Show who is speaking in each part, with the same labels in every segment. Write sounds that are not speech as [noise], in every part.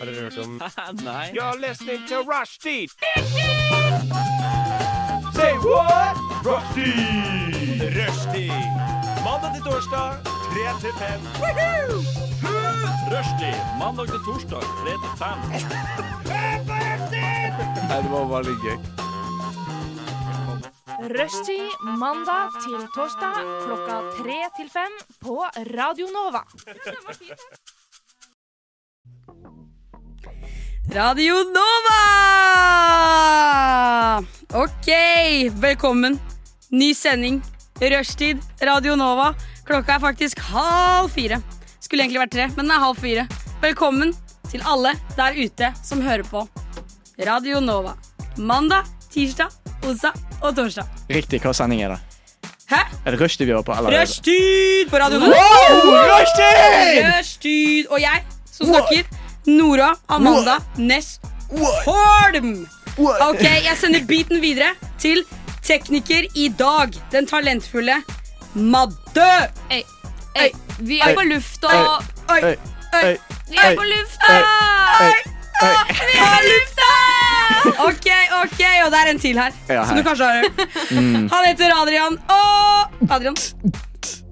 Speaker 1: Har dere hørt om
Speaker 2: Nei.
Speaker 3: You're listening to Rushdie. Say what? Rushdie. Rushdie. Mandag til torsdag, 3 til 5. Rushdie. Mandag til torsdag, 3 til 5.
Speaker 2: Nei, det var bare litt gøy.
Speaker 4: Rushtid mandag til torsdag klokka tre til fem på Radio Nova.
Speaker 5: Radio Nova! Ok, velkommen. Ny sending. Rushtid, Radio Nova. Klokka er faktisk halv fire. Skulle egentlig vært tre, men den er halv fire. Velkommen til alle der ute som hører på Radio Nova. Mandag, tirsdag, onsdag og torsdag.
Speaker 6: Riktig, hva sending er det?
Speaker 5: Hæ?
Speaker 6: Er det rushtid vi hører på? Eller
Speaker 5: Rushtid på Radio Nova! Rushtid! Og jeg som snakker, Nora Amanda Næss Holm. Ok, jeg sender beaten videre til tekniker i dag, den talentfulle Madde.
Speaker 7: Øy, vi er på lufta.
Speaker 5: Oi,
Speaker 6: Øy, øy,
Speaker 7: Vi er
Speaker 6: øy,
Speaker 7: på lufta!
Speaker 6: øy, øy.
Speaker 5: vi er i lufta! Ok, ok, og det er en til her,
Speaker 6: Ja,
Speaker 5: som du
Speaker 6: her. Mm.
Speaker 5: kanskje har hørt. Han heter Adrian og Adrian.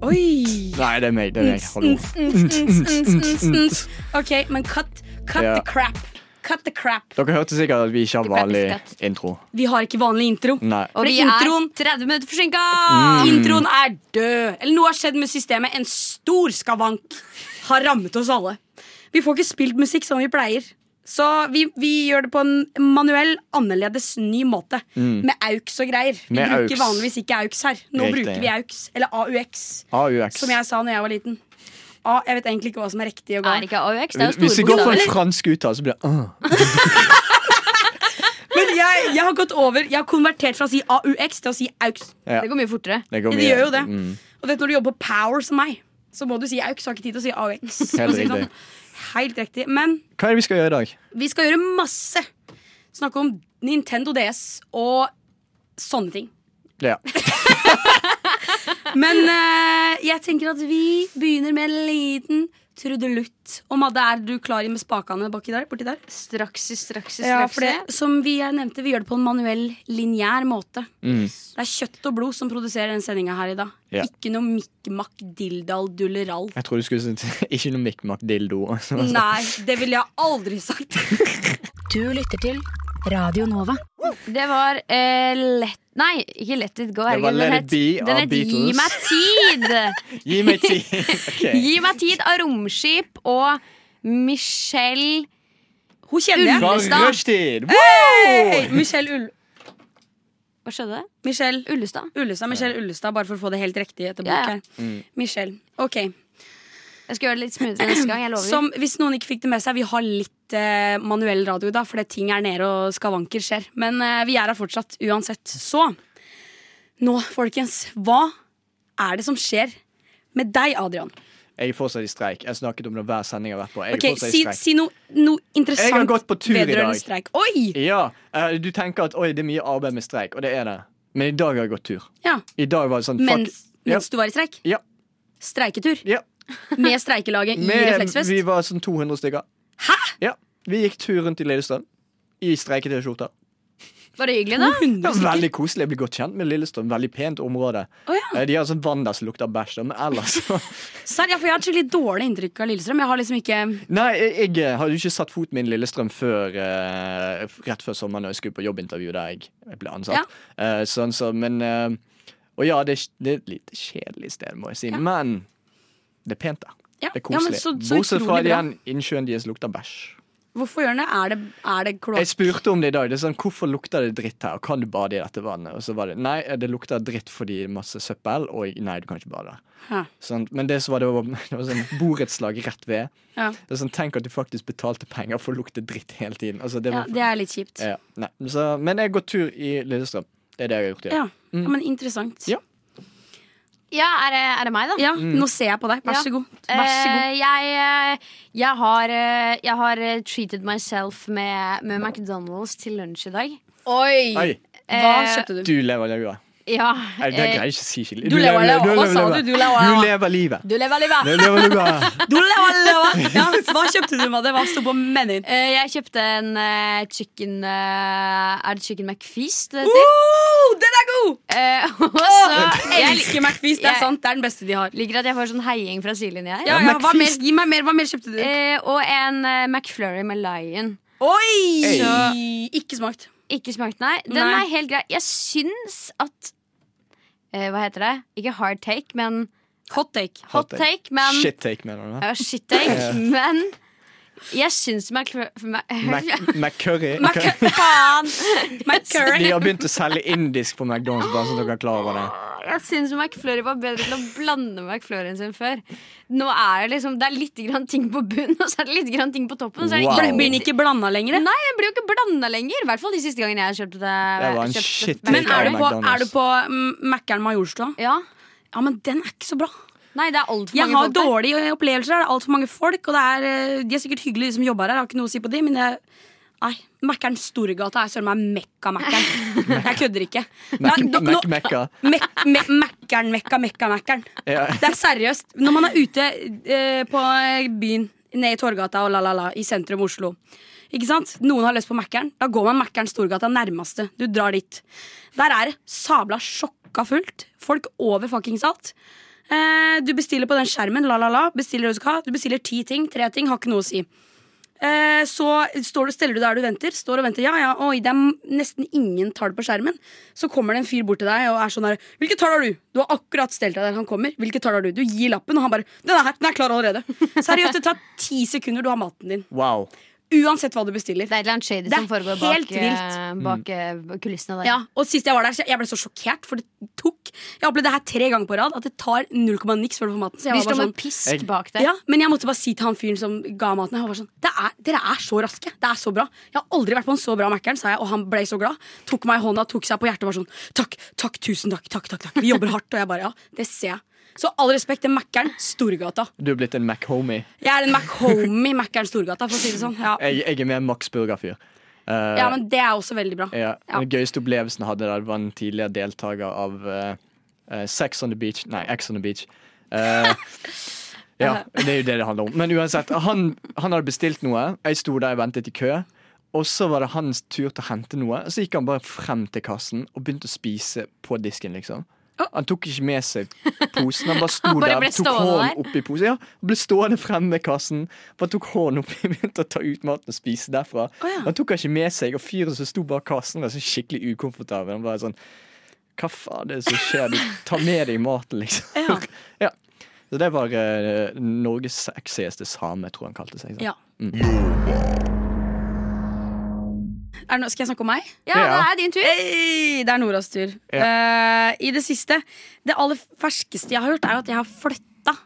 Speaker 5: Oi.
Speaker 6: Nei, det er meg. Det er meg. Hallo.
Speaker 5: Ns, ns, ns, ns, ns, ns. Ok, men cut, cut
Speaker 6: Ja.
Speaker 5: the crap. Cut the crap.
Speaker 6: Dere hørte sikkert at vi ikke har vanlig
Speaker 7: praktisk
Speaker 6: intro.
Speaker 5: Vi har ikke vanlig intro.
Speaker 6: Nei.
Speaker 7: Og
Speaker 5: For
Speaker 7: vi
Speaker 5: introen-
Speaker 7: er 30 minutter forsinka!
Speaker 5: Introen er død. Eller noe har skjedd med systemet. En stor skavank har rammet oss alle. Vi får ikke spilt musikk som vi pleier. Så vi, vi gjør det på en manuell, annerledes, ny måte. Med aux og greier. Vi
Speaker 6: Med
Speaker 5: bruker
Speaker 6: aux.
Speaker 5: vanligvis ikke aux her. Nå
Speaker 6: Riktig.
Speaker 5: bruker vi aux. Eller AUX,
Speaker 6: AUX.
Speaker 5: som jeg sa når jeg var liten. A, jeg vet egentlig ikke hva som er riktig og
Speaker 7: Er
Speaker 5: galt.
Speaker 7: ikke AUX, det er jo
Speaker 6: Hvis vi
Speaker 7: store
Speaker 6: går for en
Speaker 7: bokstaver.
Speaker 6: fransk uttale, så blir det uh.
Speaker 5: Men jeg, jeg har gått over Jeg har konvertert fra å si AUX til å si AUX.
Speaker 6: Ja.
Speaker 7: Det går mye fortere.
Speaker 6: Det går
Speaker 5: Det
Speaker 6: mye.
Speaker 5: gjør jo det.
Speaker 6: Mm.
Speaker 5: Og vet du, når du jobber på Power som meg, så må du si AUX. Har ikke tid til å si [laughs] AUX.
Speaker 6: Helt
Speaker 5: Og si
Speaker 6: riktig.
Speaker 5: sånn, Helt riktig. Men
Speaker 6: Hva er det vi skal gjøre i dag?
Speaker 5: vi skal gjøre masse. Snakke om Nintendo DS og sånne ting.
Speaker 6: Ja.
Speaker 5: Men eh, jeg tenker at vi begynner med en liten trudelutt. Og Madde, er du klar med spakene baki der, borti der?
Speaker 7: Straks, straks, straks.
Speaker 5: Ja, for det, som vi nevnte, vi gjør det på en manuell, lineær måte. Det er kjøtt og blod som produserer den sendinga her i dag.
Speaker 6: Mm. Ja.
Speaker 5: Ikke noe mikk-makk, dilldall, dullerall.
Speaker 6: Jeg trodde du skulle si [laughs] ikke noe mikk-makk-dildo.
Speaker 5: Nei, det ville jeg aldri sagt.
Speaker 8: Du lytter til Radio Nova.
Speaker 7: Det var eh, lett Nei, ikke Let It Go.
Speaker 6: Det var
Speaker 7: herregud,
Speaker 6: Let It
Speaker 7: den het-
Speaker 6: Be
Speaker 7: Den
Speaker 6: av
Speaker 7: het Gi
Speaker 6: Beatles.
Speaker 7: meg tid!
Speaker 6: [laughs] Gi meg tid. Ok.
Speaker 7: Gi meg tid av Romskip og Michelle
Speaker 5: Hun kjenner jeg.
Speaker 7: Ulv.
Speaker 6: Fra
Speaker 7: Ullestad.
Speaker 6: rushtid!
Speaker 5: Hey, Michelle, Ull
Speaker 7: Hva skjedde?
Speaker 5: Michelle
Speaker 7: Ullestad?
Speaker 5: Ullestad, Michelle Ullestad, bare for å få det helt riktig etter bok
Speaker 7: Ja, ja.
Speaker 5: her.
Speaker 6: Mm.
Speaker 5: Michelle. Ok.
Speaker 7: Jeg skal gjøre det litt smoothere neste gang. Jeg lover.
Speaker 5: Som, hvis noen ikke fikk det med seg, vi har litt eh, manuell radio i dag, fordi ting er nede og skavanker skjer. Men eh, vi er her fortsatt uansett. Så nå, folkens, hva er det som skjer med deg, Adrian?
Speaker 6: Jeg er fortsatt i streik. Jeg snakket om det hver sending jeg har vært på. Jeg er
Speaker 5: Ok,
Speaker 6: fortsatt i
Speaker 5: Si,
Speaker 6: streik.
Speaker 5: si noe noe interessant
Speaker 6: Jeg har gått på tur i
Speaker 5: vedrørende
Speaker 6: dag.
Speaker 5: streik. Oi!
Speaker 6: Ja, eh, du tenker at oi, det er mye arbeid med streik, og det er det. Men i dag har jeg gått tur.
Speaker 5: Ja,
Speaker 6: I dag var det sånn
Speaker 5: mens,
Speaker 6: fuck.
Speaker 5: mens du var i streik?
Speaker 6: Ja.
Speaker 5: Streiketur
Speaker 6: Ja.
Speaker 5: med streikelaget i
Speaker 6: Med,
Speaker 5: refleksvest?
Speaker 6: vi var sånn 200 stykker.
Speaker 5: Hæ?
Speaker 6: Ja. Vi gikk tur rundt i Lillestrøm. I streikete-skjorter.
Speaker 7: Var det hyggelig, da?
Speaker 6: Det var Veldig koselig. Jeg ble godt kjent med Lillestrøm. Veldig pent område.
Speaker 5: Å ja.
Speaker 6: Eh, De har sånn vann der som lukter bæsj, da, men ellers
Speaker 5: Serr, ja, for jeg har et skikkelig dårlig inntrykk av Lillestrøm. Jeg har liksom ikke
Speaker 6: Nei, jeg, jeg eh, hadde jo ikke satt foten min i Lillestrøm før eh, rett før sommeren når jeg skulle på jobbintervju der jeg, jeg ble ansatt.
Speaker 5: Ja.
Speaker 6: Eh, sånn så, men eh, Og ja, det, er kj- det er et lite kjedelig sted, må jeg si. Men det er pent der.
Speaker 5: Ja,
Speaker 6: Det er
Speaker 5: ja, men
Speaker 6: koselig.
Speaker 5: så- så
Speaker 6: Bortsett fra
Speaker 5: utrolig
Speaker 6: at
Speaker 5: bra.
Speaker 6: igjen, innsjøen deres lukter bæsj.
Speaker 5: Hvorfor gjør den det? Er det, er det kloakk?
Speaker 6: Jeg spurte om det i dag. Det er sånn, Hvorfor lukter det dritt her? Og Kan du bade i dette vannet? Og så var det nei, det lukter dritt fordi det er masse søppel, og nei, du kan ikke bade der.
Speaker 5: Hæ.
Speaker 6: Sånn, men det som var, det var, [laughs] det var sånn borettslag rett ved.
Speaker 5: Ja.
Speaker 6: Det er sånn, Tenk at du faktisk betalte penger for å lukte dritt hele tiden. Altså, det
Speaker 5: Ja,
Speaker 6: var,
Speaker 5: det er litt kjipt.
Speaker 6: ja, nei. Så, men jeg har gått tur i Lillestrøm. Det er det jeg har gjort i dag.
Speaker 5: Ja, ja men interessant.
Speaker 6: Mm. Ja. Mm.
Speaker 7: Ja, er det, er det meg, da?
Speaker 5: Ja, nå ser jeg på deg. Vær
Speaker 7: Ja.
Speaker 5: så god. Vær så god.
Speaker 7: Eh, jeg, eh, jeg, har, eh, jeg har eh, treated myself med, med McDonald's til lunsj i dag.
Speaker 6: Oi,
Speaker 7: Eh,
Speaker 5: Hva kjøpte du?
Speaker 6: du lever livet.
Speaker 7: Ja,
Speaker 6: Nei, det
Speaker 7: eh,
Speaker 6: greier jeg ikke å si skikkelig.
Speaker 5: Du lever det. Hva sa du? Du lever det.
Speaker 6: Du lever livet.
Speaker 7: du lever livet!
Speaker 6: Du lever livet.
Speaker 5: [laughs] Du lever,
Speaker 6: [laughs]
Speaker 5: lever. Ja, hva kjøpte du, Madde? Hva sto på menyen?
Speaker 7: Eh, jeg kjøpte en eh, chicken eh, Er det chicken McFeast det heter?
Speaker 5: Oh, den er god!
Speaker 7: Eh, [laughs] og så
Speaker 5: Jeg
Speaker 7: jeg
Speaker 5: elsker McFeast. Det er
Speaker 7: jeg-
Speaker 5: sant, det er den beste de har.
Speaker 7: liker at jeg får sånn heiing fra sidelinja her.
Speaker 5: Ja, ja, hva mer,
Speaker 6: McFeast.
Speaker 5: gi meg mer. Hva mer kjøpte du?
Speaker 7: Eh, og en eh, McFlurry med Lion.
Speaker 5: Oi!
Speaker 6: Hey.
Speaker 5: Så- Ikke smakt.
Speaker 7: Ikke smakt, nei. Den
Speaker 5: Nei.
Speaker 7: er helt grei. Jeg syns at eh, Hva heter det? Ikke hard take, men
Speaker 5: Hot take.
Speaker 6: Hot
Speaker 7: hot
Speaker 6: take.
Speaker 7: take. Men,
Speaker 6: Shit take, mener
Speaker 5: [laughs]
Speaker 6: du?
Speaker 7: Ja, shit take, men jeg syns McFlurry [laughs]
Speaker 6: Mac- McCurry. [laughs]
Speaker 7: Faen!
Speaker 5: McCurry.
Speaker 6: De har begynt å selge indisk på McDonald's, bare så dere er klar over det.
Speaker 7: Jeg syns McFlurry var bedre til å blande McFlurryen sin før. Nå er det liksom Det er litt grann ting på bunnen, og så er det litt grann ting på toppen. Og så er det
Speaker 6: Wow.
Speaker 7: ikke,
Speaker 5: Blir den ikke blanda lenger?
Speaker 7: [laughs] Nei, jeg blir jo ikke blanda lenger. I hvert fall de siste gangene jeg kjøpte det.
Speaker 6: Det var en
Speaker 7: kjøpte-
Speaker 6: shit
Speaker 5: Men
Speaker 6: take
Speaker 5: er du
Speaker 6: av
Speaker 5: på,
Speaker 6: McDonald's.
Speaker 5: er du på mm, Mækkern Majorstua?
Speaker 7: Ja.
Speaker 5: Ja, men den er ikke så bra.
Speaker 7: Nei, det er altfor
Speaker 5: Jeg
Speaker 7: mange
Speaker 5: har
Speaker 7: folk der.
Speaker 5: dårlige opplevelser. her. Det er altfor mange folk. Og det er, eh, de er sikkert hyggelige, de som jobber her. Jeg har ikke noe å si på de, men jeg Nei, Mækkern Storgata er søren meg
Speaker 7: [laughs]
Speaker 5: Mekka-Mækkern. Jeg kødder ikke.
Speaker 6: Mac-
Speaker 5: Nei, nå-
Speaker 6: Mac-
Speaker 5: nå-
Speaker 6: Mekka.
Speaker 5: Mek- me- Mækkern, Mekka, Mekka, Mækkern.
Speaker 6: Ja.
Speaker 5: Det er seriøst. Når man er ute eh, på byen, ned i Torgata og la-la-la, i sentrum av Oslo ikke sant? Noen har lyst på Mækkern. Da går man Mækkern Storgata nærmeste. Du drar dit. Der er det sabla sjokka fullt. Folk over fuckings alt. Eh, du bestiller på den skjermen, la-la-la. Bestiller det du skal ha. Du bestiller ti ting, tre ting, har ikke noe å si. Eh, så står du, steller du der du venter, står og venter. Ja, ja, oi, det er m- nesten ingen tall på skjermen. Så kommer det en fyr bort til deg og er sånn her Hvilke tall har du? Du har akkurat stelt deg der han kommer. Hvilke tall har du? Du gir lappen, og han bare Den er her, den er klar allerede. Seriøst, det tar ti sekunder, du har maten din.
Speaker 6: Wow.
Speaker 5: Uansett hva du bestiller.
Speaker 7: Det er et eller annet shady
Speaker 5: Det er
Speaker 7: som foregår
Speaker 5: helt
Speaker 7: bak, eh,
Speaker 5: vilt.
Speaker 7: bak eh, kulissene der.
Speaker 5: Ja, og sist jeg var der, så jeg ble så sjokkert, for det tok Jeg opplevde det her tre ganger på rad, at det tar null komma niks før du får maten. Så jeg
Speaker 7: Vi
Speaker 5: var
Speaker 7: står
Speaker 5: bare
Speaker 7: med
Speaker 5: sånn
Speaker 7: pisk
Speaker 6: Jeg-
Speaker 7: bak der.
Speaker 5: Ja, men jeg måtte bare si til han fyren som ga maten Han var sånn, det er, Dere er så raske, det er så bra Jeg har aldri vært på en så bra Mækkern, sa jeg Og han ble så glad, tok meg i hånda, tok seg på hjertet Og var sånn, takk, takk, tusen takk, takk, takk, takk Vi jobber hardt, og jeg bare, ja, det ser jeg Så all respekt til Mækkern, Storgata
Speaker 6: Du er blitt en McHomie.
Speaker 5: Jeg er en McHomie Mækkern, Storgata, for å si det sånn ja.
Speaker 6: Jeg, jeg er mer Max Burger-fyr. Eh,
Speaker 5: ja, men det er også veldig bra
Speaker 6: Ja.
Speaker 5: Ja.
Speaker 6: Den gøyeste opplevelsen jeg hadde der, var en tidligere deltaker av eh, eh, Sex on the Beach. Nei, X on the Beach.
Speaker 5: [laughs]
Speaker 6: Eh, ja, det er jo det det handler om. Men uansett, han, han hadde bestilt noe. Jeg sto der og ventet i kø. Og så var det hans tur til å hente noe. Og så gikk han bare frem til kassen og begynte å spise på disken, liksom. Han tok ikke med seg posen. Han
Speaker 7: [laughs]
Speaker 6: bare sto
Speaker 7: Han bare
Speaker 6: der,
Speaker 7: ble
Speaker 6: tok
Speaker 7: stående
Speaker 6: hånden
Speaker 7: der.
Speaker 6: oppi posen. Ja, han ble stående fremme med kassen, bare tok hånden oppi [laughs] begynte å ta ut maten og spise derfra. Han tok han ikke med seg, og fyren som sto bak kassen, var så skikkelig ukomfortabel. Han bare sånn Hva faen er det som skjer? Du tar med deg maten, liksom.
Speaker 5: Ja.
Speaker 6: [laughs] Ja. Så det var eh, Norges sexieste same, tror jeg han kalte seg. sant?
Speaker 5: Ja. Er det noe- skal jeg snakke om meg?
Speaker 7: Ja, det
Speaker 6: Ja.
Speaker 7: er din tur.
Speaker 5: Hey, det er Noras tur. Eh, I det siste Det aller ferskeste jeg har gjort, er jo at jeg har flytta.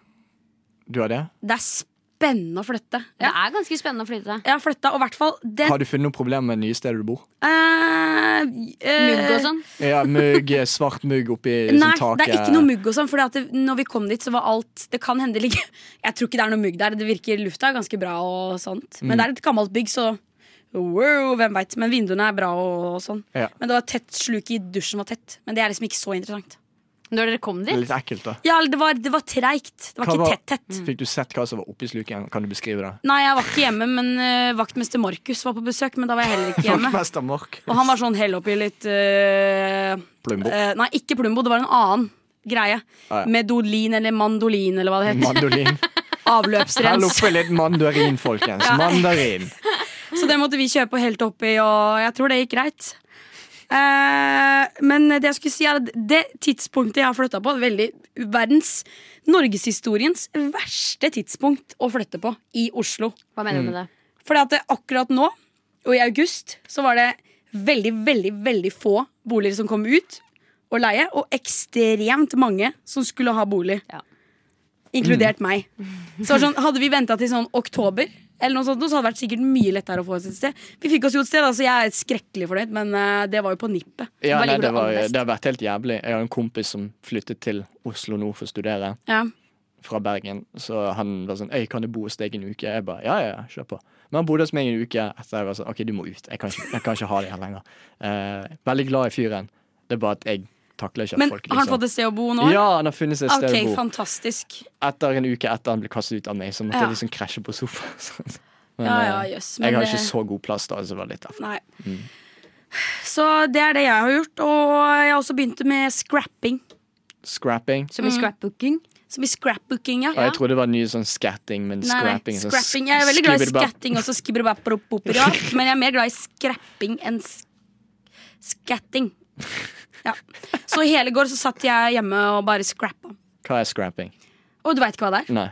Speaker 6: Du har det?
Speaker 5: Det er spennende å flytte.
Speaker 7: Det er ganske spennende å flytte.
Speaker 5: Jeg har flytta, og i hvert fall det
Speaker 6: Har du funnet noen problemer med det nye stedet du bor?
Speaker 5: eh, eh,
Speaker 7: Mugg og sånn.
Speaker 6: Ja, mugg, eh, svart mugg oppi
Speaker 5: Nei,
Speaker 6: sånn taket.
Speaker 5: det er ikke noe mugg og sånn. For når vi kom dit, så var alt Det kan hende ligge [laughs] Jeg tror ikke det er noe mugg der. Det virker lufta er ganske bra og sånt.
Speaker 6: Mm.
Speaker 5: Men det er et gammelt bygg, så wow, hvem veit. Men vinduene er bra og sånn.
Speaker 6: Ja.
Speaker 5: Men det var tett sluk i dusjen var tett. Men det er liksom ikke så interessant.
Speaker 7: Når dere kom
Speaker 6: Det er
Speaker 7: dit.
Speaker 6: Litt ekkelt, da.
Speaker 5: Ja, det var, det var treigt. Det var
Speaker 6: Hva
Speaker 5: ikke
Speaker 6: var- Mm.
Speaker 5: tett-tett.
Speaker 6: Fikk du sett hva som var oppi sluken? Kan du beskrive det?
Speaker 5: Nei, jeg var ikke hjemme, men eh, vaktmester Markus var på besøk. Men da var jeg heller ikke [laughs] hjemme.
Speaker 6: [laughs] Vaktmester Mark.
Speaker 5: Og han var sånn hell oppi litt eh,
Speaker 6: Plumbo.
Speaker 5: eh, nei, ikke Plumbo, det var en annen greie.
Speaker 6: Ah, ja.
Speaker 5: Medolin eller mandolin eller hva det het. [laughs]
Speaker 6: [laughs] Mandolin. Hell
Speaker 5: Avløpsrens.
Speaker 6: oppi litt
Speaker 5: [laughs]
Speaker 6: mandarin, folkens. Mandarin.
Speaker 5: Så det måtte vi kjøpe og helt oppi, og jeg tror det gikk greit. Eh, men det jeg skulle si er at det tidspunktet jeg har flytta på, veldig verdens norgeshistoriens verste tidspunkt å flytte på i Oslo.
Speaker 7: Hva mener du med det?
Speaker 5: Fordi at det, akkurat nå, og i august, så var det veldig, veldig, veldig få boliger som kom ut og leie, og ekstremt mange som skulle ha bolig.
Speaker 7: Ja.
Speaker 5: Inkludert
Speaker 6: Mm.
Speaker 5: meg. Så var det sånn, hadde vi venta til sånn oktober, eller noe sånt, så hadde det vært sikkert mye lettere å få oss et sted. Vi fikk oss jo et sted, da, så jeg er skrekkelig fornøyd, men eh, det var jo på nippet.
Speaker 6: Ja,
Speaker 7: Hva
Speaker 6: nei,
Speaker 7: liker
Speaker 6: det,
Speaker 7: du
Speaker 6: var,
Speaker 7: aller best?
Speaker 6: det har vært helt jævlig. Jeg har en kompis som flyttet til Oslo nå for å studere,
Speaker 5: Ja.
Speaker 6: fra Bergen. Så han var sånn 'Øy, kan du bo hos deg en uke?' Jeg bare 'Ja, ja, ja, kjør på'. Men han bodde hos meg en uke etter. Jeg var sånn 'OK, du må ut. Jeg kan ikke, jeg kan ikke ha det her lenger'. Eh, veldig glad i fyren. Det er bare at jeg takler ikke at
Speaker 5: Men
Speaker 6: folk
Speaker 5: har han fått et sted å bo nå?
Speaker 6: Ja, han har funnet seg et sted
Speaker 5: Ok,
Speaker 6: å bo.
Speaker 5: fantastisk.
Speaker 6: Etter en uke etter han ble kastet ut av meg, så måtte
Speaker 5: Ja.
Speaker 6: jeg liksom krasje på sofaen. [laughs] Men,
Speaker 5: Ja, ja,
Speaker 6: eh,
Speaker 5: jøss. men
Speaker 6: jeg har
Speaker 5: det-
Speaker 6: ikke så god plass da, så det var litt derfor.
Speaker 5: Nei. Så det er det jeg har gjort. Og jeg har også begynt med scrapping.
Speaker 6: Scrapping.
Speaker 7: Som i scrapbooking.
Speaker 5: Som i scrapbooking, ja.
Speaker 6: Og jeg trodde det var nye sånn skatting, men
Speaker 5: Nei, nei,
Speaker 6: scrapping. sånn
Speaker 5: scrapping. altså Jeg er veldig glad i altså
Speaker 6: skibidi-bap.
Speaker 5: skatting også, skibidi-bap-bop-bop, [laughs] ja. men jeg er mer glad i scrapping enn sk skatting. Ja. Så i hele går så satt jeg hjemme og bare scrappa.
Speaker 6: Hva er scrapping?
Speaker 5: Og du veit ikke hva det er?
Speaker 6: Nei.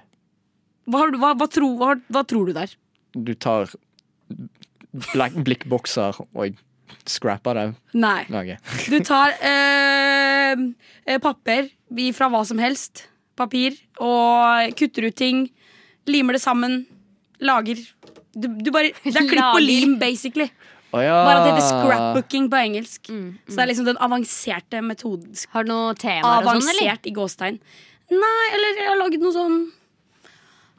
Speaker 5: Hva, har du- hva, hva, tror, hva, hva tror du det er?
Speaker 6: Du tar blek- blikkbokser og scrapper det.
Speaker 5: Nei.
Speaker 6: Okay.
Speaker 5: Du tar eh, eh, papper i- fra hva som helst. Papir. Og kutter ut ting. Limer det sammen. Lager. Du, du bare, det er klipp og
Speaker 7: Lager.
Speaker 5: lim, basically.
Speaker 6: Å ja.
Speaker 5: Bare at det heter scrapbooking på engelsk. Så det er liksom den avanserte metoden.
Speaker 7: Har du noe tema og sånn, eller?
Speaker 5: Avansert i gåstein. Nei, eller jeg har laget noe sånn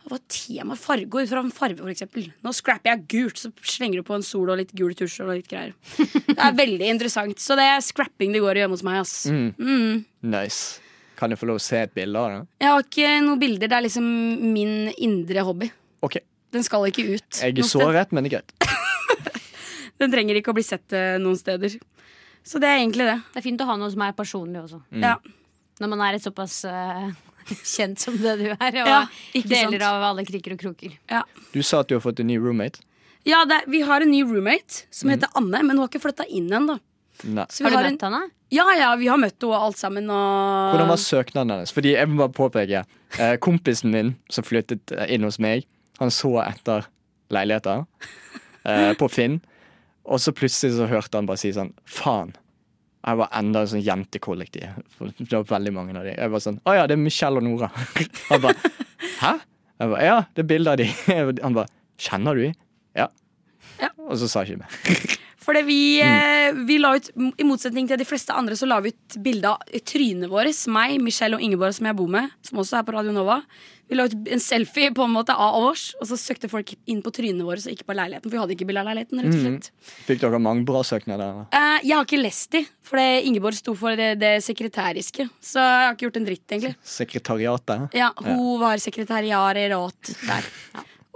Speaker 5: Hva tema? Farge ut fra en farge, for eksempel. Nå scrapper jeg gult, så slenger du på en sol og litt gul tusj og litt greier. Det er veldig interessant. Så det er scrapping det går i hjemme hos meg, ass.
Speaker 6: Nice. Kan jeg få lov å se et bilde av det?
Speaker 5: Jeg har ikke noen bilder. Det er liksom min indre hobby.
Speaker 6: OK.
Speaker 5: Den skal ikke ut.
Speaker 6: Jeg
Speaker 5: noe
Speaker 6: er
Speaker 5: sted.
Speaker 6: såret, men det er greit.
Speaker 5: Den trenger ikke å bli sett eh, noen steder. Så det er egentlig det.
Speaker 7: Det er fint å ha noe som er personlig også.
Speaker 5: Ja.
Speaker 7: Når man er et såpass eh, [laughs] kjent som det du er, og
Speaker 5: Ja, ikke
Speaker 7: deler
Speaker 5: sant.
Speaker 7: av alle kriker og kroker.
Speaker 6: Du sa at du har fått en ny roommate.
Speaker 5: Ja, det er, Vi har en ny roommate som heter Anne, men hun har ikke flytta inn ennå.
Speaker 6: Nei.
Speaker 5: Så vi
Speaker 7: Har du
Speaker 5: en-
Speaker 7: møtt henne?
Speaker 5: Ja, ja, vi har møtt henne og alt sammen. Og...
Speaker 6: Hvordan var søknaden hennes? Fordi jeg må bare påpeke eh, Kompisen min som flyttet eh, inn hos meg, han så etter leiligheter eh, på Finn. Og så plutselig så hørte han bare si sånn Faen. Jeg var enda en sånn jentekollektiv. For Det var veldig mange av de. Jeg var sånn Å ja, det er Michelle og Nora. [laughs] Han bare Hæ? Jeg bare, ja, det er bilder av de. [laughs] Han bare Kjenner du de? Ja.
Speaker 5: Ja.
Speaker 6: Og så sa jeg ikke mer.
Speaker 5: Fordi vi,
Speaker 6: Mm.
Speaker 5: eh, vi la ut, I motsetning til de fleste andre så la vi ut bilde av trynet vårt. Meg, Michelle og Ingeborg, som jeg bor med, som også er på Radio Nova. Vi la ut en selfie på en måte av oss, og så søkte folk inn på trynene våre. Så ikke på leiligheten, for vi hadde ikke bilde av leiligheten.
Speaker 6: Mm.
Speaker 5: rett og slett
Speaker 6: Fikk dere mange bra søknader? eller?
Speaker 5: Eh, Jeg har ikke lest de, for det Ingeborg sto for det, det sekretæriske. Så jeg har ikke gjort en dritt, egentlig.
Speaker 6: Sekretariatet?
Speaker 5: Ja, hun var sekretær i Arerat der.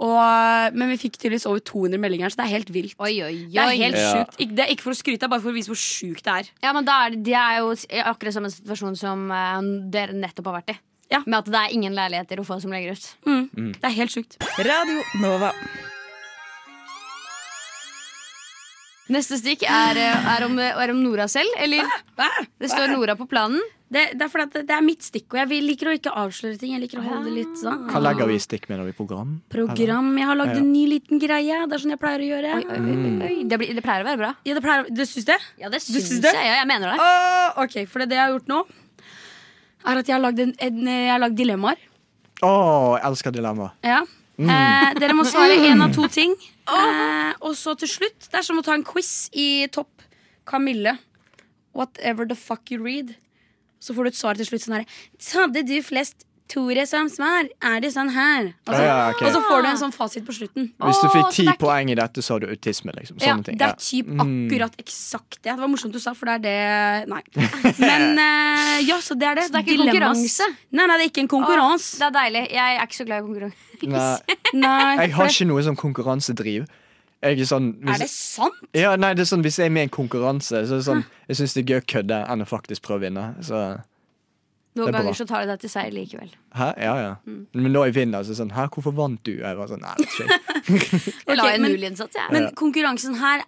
Speaker 5: Og, eh, men vi fikk tydeligvis over 200 meldinger, så det er helt vilt.
Speaker 7: Oi, oi, oi.
Speaker 5: Det er helt
Speaker 6: Ja.
Speaker 5: sjukt. Ikke, det er ikke for å skryte, det er bare for å vise hvor sjukt det er.
Speaker 7: Ja, men da er det, det er jo s- akkurat samme situasjon som eh, dere nettopp har vært i.
Speaker 5: Ja.
Speaker 7: Med at det er ingen leiligheter å få som legger ut.
Speaker 5: Det er helt sjukt.
Speaker 1: Radio Nova.
Speaker 7: Neste stikk er, eh, er, om, er om Nora selv. Eller det står Nora på planen.
Speaker 5: Det, det er fordi at det- det er mitt stikk, og jeg vil- liker å ikke avsløre ting. Jeg liker å holde det litt sånn
Speaker 6: Hva legger vi i stikk med når vi program?
Speaker 5: Program. Jeg har lagd en ny liten greie. Det er sånn jeg pleier å gjøre.
Speaker 7: Oi, oi, oi,
Speaker 6: Mm.
Speaker 7: oi. Det, blir, det pleier å være bra.
Speaker 5: Ja, det pleier, du syns det?
Speaker 7: Ja, det
Speaker 5: syns
Speaker 7: syns
Speaker 5: det?
Speaker 7: jeg. Ja, jeg mener det.
Speaker 5: Åh, ok, for det, det jeg har gjort nå, er at jeg har lagd, en, en, jeg har lagd dilemmaer.
Speaker 6: Å, jeg elsker dilemma.
Speaker 5: Ja.
Speaker 6: Mm.
Speaker 5: Eh, dere må svare én av to ting. Eh, og så til slutt Det er som å ta en quiz i topp. Kamille. Whatever the fuck you read. Så får du et svar til slutt sånn her. Hadde du flest Tore som svar? Er det sånn her? Og så,
Speaker 6: Ja, ja, ok.
Speaker 5: og så får du en sånn fasit på slutten.
Speaker 6: Hvis du fikk
Speaker 7: Å, så
Speaker 6: ti
Speaker 7: det er ikke-
Speaker 6: poeng i dette, så har du autisme. liksom Sånne
Speaker 5: Ja,
Speaker 6: ting. Mm.
Speaker 5: det er typ akkurat eksakt det. Det var morsomt du sa, for det er det
Speaker 6: [laughs]
Speaker 5: Nei. Men eh, ja, så det er det.
Speaker 7: Så det er ikke
Speaker 5: Dilemmas.
Speaker 7: konkurranse?
Speaker 5: Nei, nei, det er ikke en konkurranse.
Speaker 7: Det er deilig. Jeg er ikke så glad i konkurranse.
Speaker 6: Nei,
Speaker 5: Nei,
Speaker 6: jeg
Speaker 5: for
Speaker 6: har ikke noe sånn konkurransedriv. Jeg er sånn
Speaker 5: det- Er det
Speaker 6: hvis,
Speaker 5: sant?
Speaker 6: ja, nei, det er sånn, hvis jeg er med i en konkurranse, så er det sånn Jeg syns det er gøy å kødde enn å faktisk prøve å vinne. Så Det
Speaker 7: Noen
Speaker 6: er bra.
Speaker 7: ganger så tar de deg til seier likevel.
Speaker 6: hæ? Ja, ja.
Speaker 5: Mm.
Speaker 6: Men når jeg vinner, så er det sånn Hæ, hvorfor vant du? Jeg var sånn Nei,
Speaker 5: [laughs]
Speaker 6: det er ikke
Speaker 7: Jeg la
Speaker 5: Ok,
Speaker 7: en
Speaker 5: men-
Speaker 7: null innsats, jeg.
Speaker 5: Men konkurransen her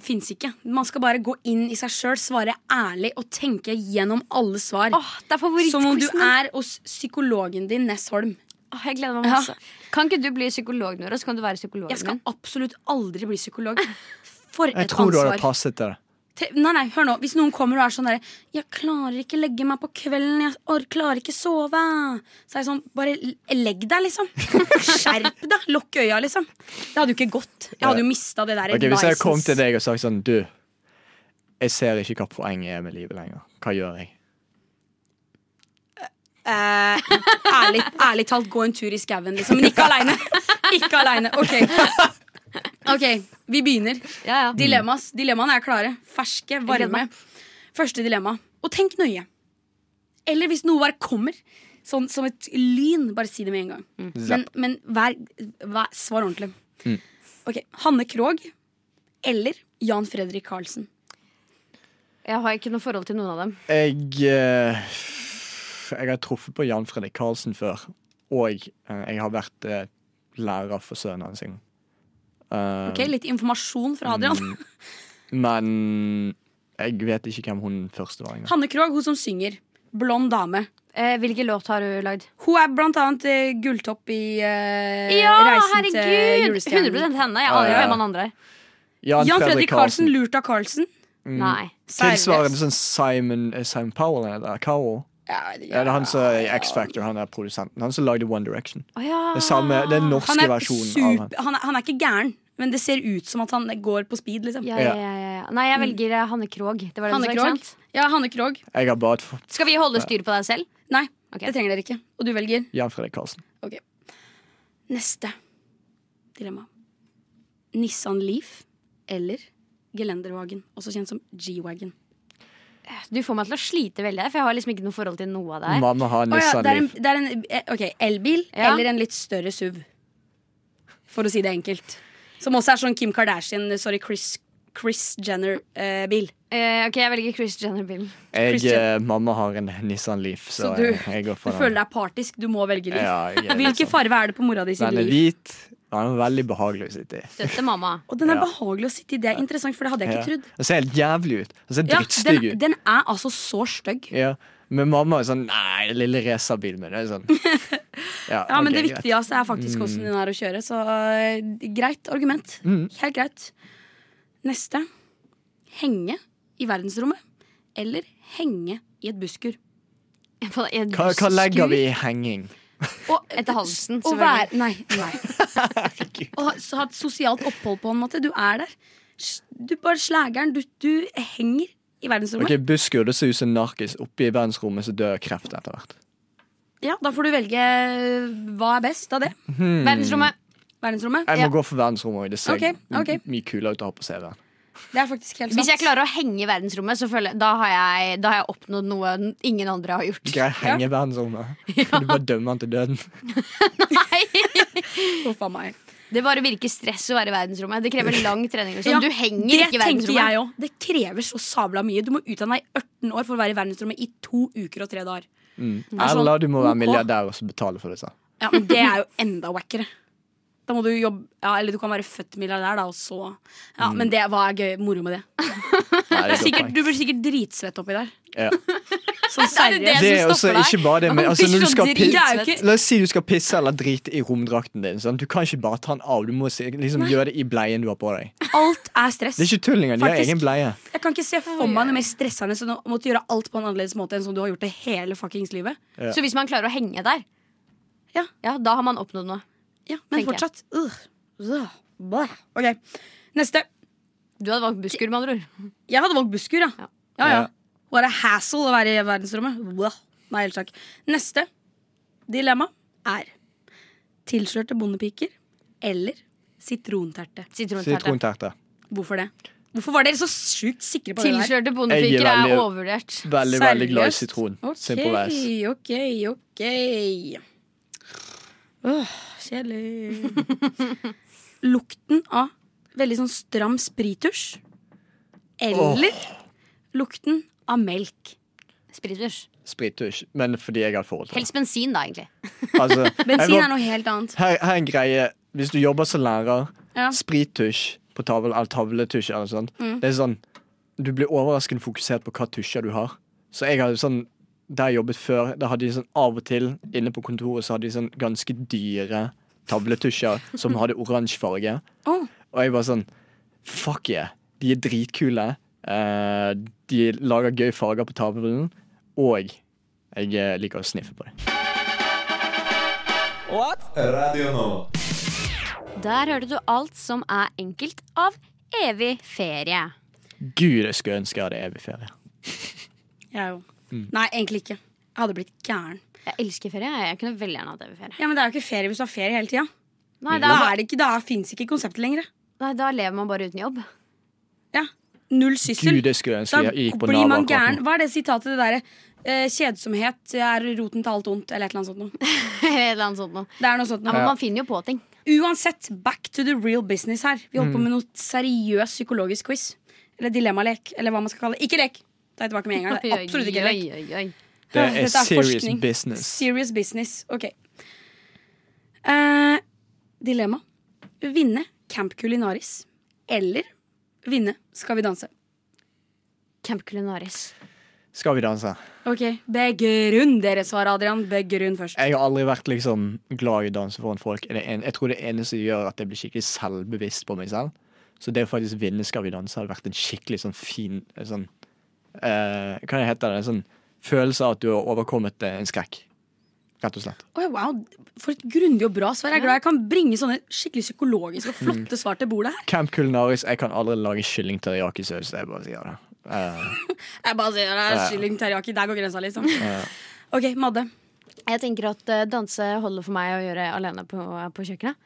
Speaker 5: fins ikke. Man skal bare gå inn i seg sjøl, svare ærlig og tenke gjennom alle svar.
Speaker 7: Åh, det er
Speaker 5: Som om du
Speaker 7: favorittquizen. min.
Speaker 5: er hos psykologen din, Ness Holm.
Speaker 7: Åh, jeg gleder meg masse. altså. Kan ikke du bli psykolog, Nora? Så kan du være psykologen
Speaker 5: Jeg skal
Speaker 7: min.
Speaker 5: absolutt aldri bli
Speaker 7: [laughs]
Speaker 5: psykolog. For et
Speaker 6: Jeg tror du hadde
Speaker 5: ansvar.
Speaker 6: passet til det.
Speaker 5: Te- Nei, nei, hør nå. Hvis noen kommer og er sånn derre 'Jeg klarer ikke legge meg på kvelden. Jeg or klarer ikke sove.' Så er jeg sånn Bare l- legg deg,
Speaker 7: [laughs]
Speaker 5: liksom. Skjerp deg. Lukk øya, liksom. Det hadde jo ikke gått. Jeg hadde jo mista det der.
Speaker 6: Ok, Hvis jeg
Speaker 5: license.
Speaker 6: kom til deg og sagt sånn Du, jeg ser ikke hva poenget er med livet lenger. Hva gjør jeg?
Speaker 5: Eh, ærlig, ærlig talt, gå en tur i skauen, liksom. Men ikke aleine. Ikke aleine. Ok. Ok, vi begynner.
Speaker 7: Ja, ja.
Speaker 5: Dilemmas. Dilemmaene er klare. Ferske, varme. Første dilemma. Og tenk nøye. Eller hvis noe bare kommer. Sånn som et lyn. Bare si det med en gang. Men,
Speaker 6: Mm. Zapp.
Speaker 5: men vær, vær, svar ordentlig. Ok, Hanne Krogh eller Jan Fredrik Karlsen.
Speaker 7: Jeg har ikke noe forhold til noen av dem.
Speaker 6: Jeg eh, Jeg har truffet på Jan Fredrik Karlsen før. Og eh, jeg har vært eh, lærer for sønnen hans en gang. Eh,
Speaker 5: Ok, Litt informasjon fra
Speaker 6: Mm.
Speaker 5: Adrian.
Speaker 6: Men jeg vet ikke hvem hun første var. engang.
Speaker 5: Hanne Krogh, hun som synger. Blond dame.
Speaker 7: Eh, hvilken låt har du lagd?
Speaker 5: Hun er blant annet eh, gulltopp i eh,
Speaker 7: Ja,
Speaker 5: Reisen til
Speaker 7: herregud! 100
Speaker 5: julestjernen.
Speaker 7: henne. Jeg
Speaker 6: Ja, ja,
Speaker 7: aner
Speaker 6: ja.
Speaker 7: hvem han andre er.
Speaker 5: Jan Fredrik Karlsen, lurt av Karlsen.
Speaker 7: Nei.
Speaker 6: mm, Tilsvarende sånn Simon, eh, Simon Powell eller Cowell.
Speaker 5: Ja, jeg vet ikke.
Speaker 6: Er eh, det han som er i X-Factor, han er produsenten. Han som lagde One Direction.
Speaker 7: Å ja.
Speaker 6: Det samme, den
Speaker 5: Ah, han,
Speaker 6: norske
Speaker 5: er
Speaker 6: versjonen av han.
Speaker 5: super, han, er, han er ikke gæren, men det ser ut som at han går på speed. Liksom.
Speaker 7: Ja, ja, ja, ja. Nei, jeg velger eh, Hanne Krogh. Det var det
Speaker 5: Hanne
Speaker 7: du sa,
Speaker 5: Krogh.
Speaker 7: ikke sant?
Speaker 5: Ja, Hanne Krogh.
Speaker 6: Jeg har bare et f-
Speaker 7: Skal vi holde styr på deg selv?
Speaker 5: Nei,
Speaker 7: Ok.
Speaker 5: det trenger dere ikke. Og du velger
Speaker 6: Jan Fredrik Karlsen.
Speaker 5: neste dilemma. Nissan Leaf eller Gelenderwagen, også kjent som G-Wagon.
Speaker 7: Du får meg til å slite veldig, her, for jeg har liksom ikke noe forhold til noe av det her.
Speaker 6: Mamma har
Speaker 5: Å ja,
Speaker 6: Nissan
Speaker 5: det er en,
Speaker 6: Leaf.
Speaker 5: det er en eh, ok, elbil
Speaker 7: Ja.
Speaker 5: eller en litt større SUV. For å si det enkelt. Som også er sånn Kim Kardashian, sorry, Chris, Chris Jenner-bil.
Speaker 7: Eh, ok, jeg velger Chris Jenner-bilen.
Speaker 6: Jeg,
Speaker 5: Christian.
Speaker 6: eh, mamma har en Nissan Leaf, så,
Speaker 5: Så du-
Speaker 6: jeg, jeg går
Speaker 5: du
Speaker 6: for
Speaker 5: føler
Speaker 6: den.
Speaker 5: deg partisk, du må velge Leaf.
Speaker 6: Ja,
Speaker 5: [laughs]
Speaker 6: jeg er litt
Speaker 5: Hvilken
Speaker 6: sånn.
Speaker 5: farve er det på mora di sin
Speaker 6: Den er
Speaker 5: Leaf?
Speaker 6: hvit. Den er veldig behagelig å sitte i.
Speaker 7: Støtter mamma.
Speaker 5: Og den er
Speaker 6: Ja.
Speaker 5: behagelig å sitte i. Det er interessant, for det hadde jeg
Speaker 6: Ja.
Speaker 5: ikke trodd.
Speaker 6: Den ser helt jævlig ut. Den ser
Speaker 5: Ja,
Speaker 6: drittstygg
Speaker 5: den,
Speaker 6: ut.
Speaker 5: den er altså så stygg. Ja,
Speaker 6: Ja. Men mamma er sånn Nei, den lille racerbilen min. Det
Speaker 5: [laughs]
Speaker 6: er sånn. Ja,
Speaker 5: men det
Speaker 6: ok, greit. Mm.
Speaker 5: viktigste er faktisk hvordan den er å kjøre, så eh, greit argument.
Speaker 6: Mm.
Speaker 5: Helt greit. Neste. Henge i verdensrommet eller henge i et busskur.
Speaker 7: På en
Speaker 6: Hva, hva
Speaker 7: busskur.
Speaker 6: legger vi i henging?
Speaker 5: Og
Speaker 7: Etter halsen,
Speaker 5: Å
Speaker 7: selvfølgelig.
Speaker 5: være Nei.
Speaker 7: [laughs]
Speaker 5: nei. Å ha så ha et sosialt opphold på en måte. Du er der. S- Du bare slægeren. Du, du henger i
Speaker 6: Ok,
Speaker 5: verdensrommet.
Speaker 6: Busskur det ser ut som en narkis. Oppe i verdensrommet så dør kreft etter hvert.
Speaker 5: Ja, Da får du velge eh, hva er best av det.
Speaker 6: mm.
Speaker 7: Verdensrommet.
Speaker 5: Verdensrommet.
Speaker 6: Jeg må
Speaker 7: Ja.
Speaker 6: gå for verdensrommet òg. Det ser
Speaker 5: Ok, ok.
Speaker 6: m- mye kulere ut å ha på CV-en.
Speaker 5: Det er faktisk helt sant.
Speaker 7: Hvis jeg klarer å henge i verdensrommet, så føler jeg, da, har jeg, da har jeg oppnådd noe n- ingen andre har gjort.
Speaker 6: Greier henge
Speaker 5: [laughs]
Speaker 6: i verdensrommet. Kan du bare dømme han til døden?
Speaker 5: Huff a meg.
Speaker 7: Det bare virker stress å være i verdensrommet. Det krever lang trening. Liksom.
Speaker 5: Ja,
Speaker 7: du henger
Speaker 5: Det
Speaker 7: ikke i
Speaker 5: tenkte
Speaker 7: verdensrommet.
Speaker 5: jeg òg. Det krever så sabla mye. Du må utdanne deg i 18 år for å være i verdensrommet i to uker og tre dager. sånn,
Speaker 6: Eller du må være
Speaker 5: ok.
Speaker 6: milliardær og så betale for det. Så.
Speaker 5: Ja, men Det er jo enda wackere. Da må du jobbe Ja, eller du kan være født milliardær, da, og så Ja, men det, hva er gøy, moro med det?
Speaker 6: Nei, det er
Speaker 5: Sikkert,
Speaker 6: godt poeng.
Speaker 5: du blir sikkert dritsvett oppi der.
Speaker 6: Ja.
Speaker 5: Sånn seriøst.
Speaker 6: Det er også ikke bare det men altså, når du skal
Speaker 5: drit-
Speaker 6: pisse,
Speaker 5: Det er jo ikke-
Speaker 6: La oss si du skal pisse eller drite i romdrakten din. Sånn. Du kan ikke bare ta den av. Du må si- liksom, gjøre det i bleien du har på deg.
Speaker 5: Alt er stress.
Speaker 6: Det er ikke tull engang. De har
Speaker 5: Faktisk.
Speaker 6: egen bleie.
Speaker 5: Jeg kan ikke se for meg noe mer stressende enn å måtte gjøre alt på en annerledes måte enn som du har gjort det hele fuckings livet.
Speaker 6: Ja.
Speaker 7: Så hvis man klarer å henge der,
Speaker 5: Ja.
Speaker 7: da har man oppnådd noe.
Speaker 5: Ja, Men
Speaker 7: Tenker jeg.
Speaker 5: fortsatt. Ugh. Ugh. Bæh. Ok, neste.
Speaker 7: Du hadde valgt busskur, med andre ord.
Speaker 5: Jeg hadde valgt busskur, ja.
Speaker 7: Ja.
Speaker 5: ja, ja.
Speaker 6: Ja.
Speaker 5: What a hassle å være i verdensrommet. Blah. Nei, helt takk. Neste dilemma er tilslørte bondepiker eller sitronterte.
Speaker 7: Sitronterte.
Speaker 6: Sitronterte.
Speaker 5: Hvorfor det? Hvorfor var dere så sjukt sikre på det der?
Speaker 7: Tilslørte
Speaker 6: Jeg
Speaker 7: bondepiker
Speaker 6: er veldig-
Speaker 7: er overvurdert.
Speaker 6: Veldig, veldig glad i
Speaker 5: Seriøst?
Speaker 6: sitron. Simple as.
Speaker 5: Ok, ok, ok. Åh, kjedelig. Lukten av veldig sånn stram sprittusj eller lukten av melk.
Speaker 7: Sprittusj.
Speaker 6: Sprittusj. Men fordi jeg har et forhold til det.
Speaker 7: Helst bensin, da, egentlig.
Speaker 6: [laughs] Altså, jeg
Speaker 5: Bensin
Speaker 6: må-
Speaker 5: er noe helt annet.
Speaker 6: her, her er en greie. Hvis du jobber som lærer,
Speaker 5: Ja. Mm.
Speaker 6: sprittusj på tavle, eller tavletusj eller noe sånt, det er sånn Du blir overraskende fokusert på hva tusjer du har. Så jeg hadde sånn Der jeg jobbet før, da hadde de sånn av og til inne på kontoret så hadde de sånn ganske dyre tavletusjer som hadde oransje farge.
Speaker 5: Åh.
Speaker 6: Og jeg bare sånn Fuck yeah. De er dritkule. Eh, de lager gøy farger på tavlen. Og jeg eh, liker å sniffe på dem.
Speaker 1: Radio Nova.
Speaker 7: Der hørte du alt som er enkelt av evig ferie.
Speaker 6: Gud, jeg skulle ønske jeg hadde evig ferie.
Speaker 5: Jeg òg.
Speaker 6: Mm.
Speaker 5: Nei, egentlig ikke. Jeg hadde blitt gæren.
Speaker 7: Jeg elsker ferie. Jeg kunne veldig gjerne hatt evig ferie.
Speaker 5: Ja, Men det er jo ikke ferie hvis du har ferie hele tida.
Speaker 7: Nei,
Speaker 5: Da,
Speaker 7: da,
Speaker 5: er det ikke, da fins ikke konseptet lenger.
Speaker 7: nei, da lever man bare uten jobb.
Speaker 5: Ja. null syssel.
Speaker 6: Gud, det skulle jeg ønske
Speaker 5: Da
Speaker 6: jeg gikk på
Speaker 5: blir man
Speaker 6: Nav-akkurat
Speaker 5: gæren.
Speaker 6: nå.
Speaker 5: Hva er det sitatet det derre? eh, kjedsomhet er roten til alt ondt, eller et eller annet sånt noe.
Speaker 7: [laughs] Eller noe sånt noe.
Speaker 5: Det er noe sånt
Speaker 7: Ja,
Speaker 5: noe.
Speaker 7: men man finner jo på ting.
Speaker 5: Uansett, back to the real business her. Vi holder på
Speaker 6: Mm.
Speaker 5: med noe seriøs psykologisk quiz. Eller dilemmalek, eller hva man skal kalle det. Ikke lek! Det er jeg tilbake med en gang. [laughs] Det er absolutt ikke lek.
Speaker 7: Oi, oi, oi.
Speaker 6: Det
Speaker 5: Dette
Speaker 6: er serious
Speaker 5: forskning.
Speaker 6: business.
Speaker 5: Serious business. Ok. Eh, dilemma. Vinne Camp Culinaris eller vinne Skal vi danse.
Speaker 7: Camp Culinaris.
Speaker 6: Skal vi danse?
Speaker 5: Ok, Begrunn dere svar, Adrian. Begrunn først.
Speaker 6: Jeg har aldri vært liksom glad i å danse foran folk. Det en, jeg tror det eneste som gjør at jeg blir skikkelig selvbevisst på meg selv. Så det å faktisk vinne Skal vi danse hadde vært en skikkelig sånn fin eh, sånn, eh, Hva heter det? En sånn følelse av at du har overkommet eh, en skrekk. Rett og slett.
Speaker 5: Oi, wow, For et grundig og bra svar. Jeg er glad jeg kan bringe sånne skikkelig psykologiske og flotte
Speaker 6: Mm.
Speaker 5: svar til bordet her.
Speaker 6: Camp Culinaris, jeg kan aldri lage kylling teriyaki-saus. Jeg bare sier det. Eh,
Speaker 5: Jeg bare sier det er Kylling teriyaki. Der går grensa, liksom. Ok, Madde.
Speaker 7: Jeg tenker at eh, danse holder for meg å gjøre alene på, på kjøkkenet.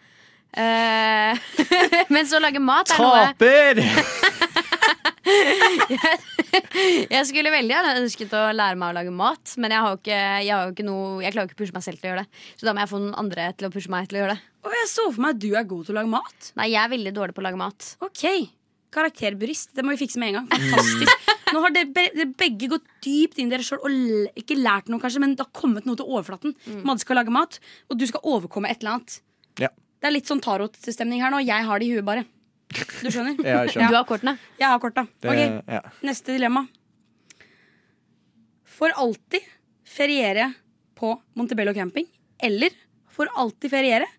Speaker 7: Eh, [laughs] mens å lage mat er noe
Speaker 6: taper! [laughs]
Speaker 7: Jeg skulle veldig gjerne ønsket å lære meg å lage mat, men jeg, har jo ikke, jeg, har jo ikke noe, jeg klarer jo ikke å pushe meg selv til å gjøre det. Så da må jeg få noen andre til å pushe meg til å gjøre det.
Speaker 5: Å, jeg så for meg at du er god til å lage mat.
Speaker 7: Nei, jeg er veldig dårlig på å lage mat.
Speaker 5: Ok, karakterbrist. Det må vi fikse med en gang. Fantastisk. Nå har dere, be dere begge gått dypt inn i dere sjøl og l- ikke lært noe, kanskje, men det har kommet noe til overflaten.
Speaker 6: Mm.
Speaker 5: Madde skal lage mat, og du skal overkomme et eller annet.
Speaker 6: Ja.
Speaker 5: Det er litt sånn tarotstemning her nå. Jeg har det i huet, bare. Du skjønner?
Speaker 6: [laughs] Ja, jeg
Speaker 7: Du
Speaker 6: skjønner.
Speaker 7: har kortene.
Speaker 5: Jeg har korta.
Speaker 6: Det,
Speaker 5: Ok,
Speaker 6: ja.
Speaker 5: neste dilemma. For alltid feriere på Montebello camping, eller for alltid feriere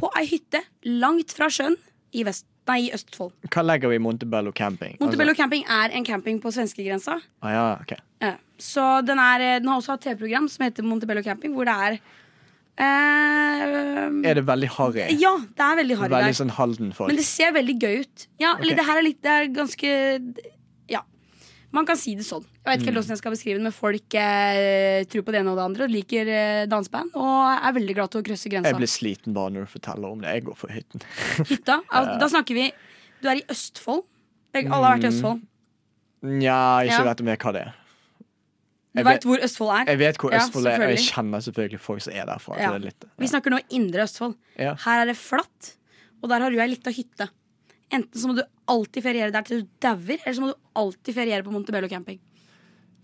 Speaker 5: på ei hytte langt fra sjøen i, vest nei, i Østfold.
Speaker 6: Hva legger vi i Montebello camping?
Speaker 5: Montebello camping er en camping på svenskegrensa.
Speaker 6: Altså, ah, ja, ok.
Speaker 5: Ja. Så den, er, eh, den har også et TV-program som heter Montebello camping, hvor det er eh,
Speaker 6: Er det veldig harry?
Speaker 5: Ja, det er veldig harry
Speaker 6: Veldig
Speaker 5: der.
Speaker 6: sånn Halden-folk?
Speaker 5: Men det ser veldig gøy ut. Ja, eller
Speaker 6: Ok.
Speaker 5: det her er litt Det er ganske Ja. Man kan si det sånn. Jeg vet ikke
Speaker 6: Mm.
Speaker 5: helt hvordan jeg skal beskrive det, men folk eh, tror på det ene og det andre, og liker eh, danseband og er veldig glad til å krysse
Speaker 6: Jeg
Speaker 5: grensa.
Speaker 6: blir sliten bare når du forteller om det. Jeg går for hytten. [laughs]
Speaker 5: Hytta. al- Da snakker vi Du er i Østfold. Begge, alle har vært i
Speaker 6: Mm.
Speaker 5: Østfold.
Speaker 6: Nja, ikke
Speaker 5: Ja.
Speaker 6: vet om jeg hva det er.
Speaker 5: Du
Speaker 6: Jeg vet-
Speaker 5: veit hvor Østfold er.
Speaker 6: Jeg vet hvor
Speaker 5: Ja,
Speaker 6: Østfold er, og jeg
Speaker 5: selvfølgelig.
Speaker 6: kjenner selvfølgelig folk som er derfra. så
Speaker 5: Ja.
Speaker 6: Det er litt,
Speaker 5: Vi snakker nå indre Østfold.
Speaker 6: Ja.
Speaker 5: Her er det flatt, og der har du ei lita hytte. Enten så må du alltid feriere der til du dauer, eller så må du alltid feriere på Montebello camping.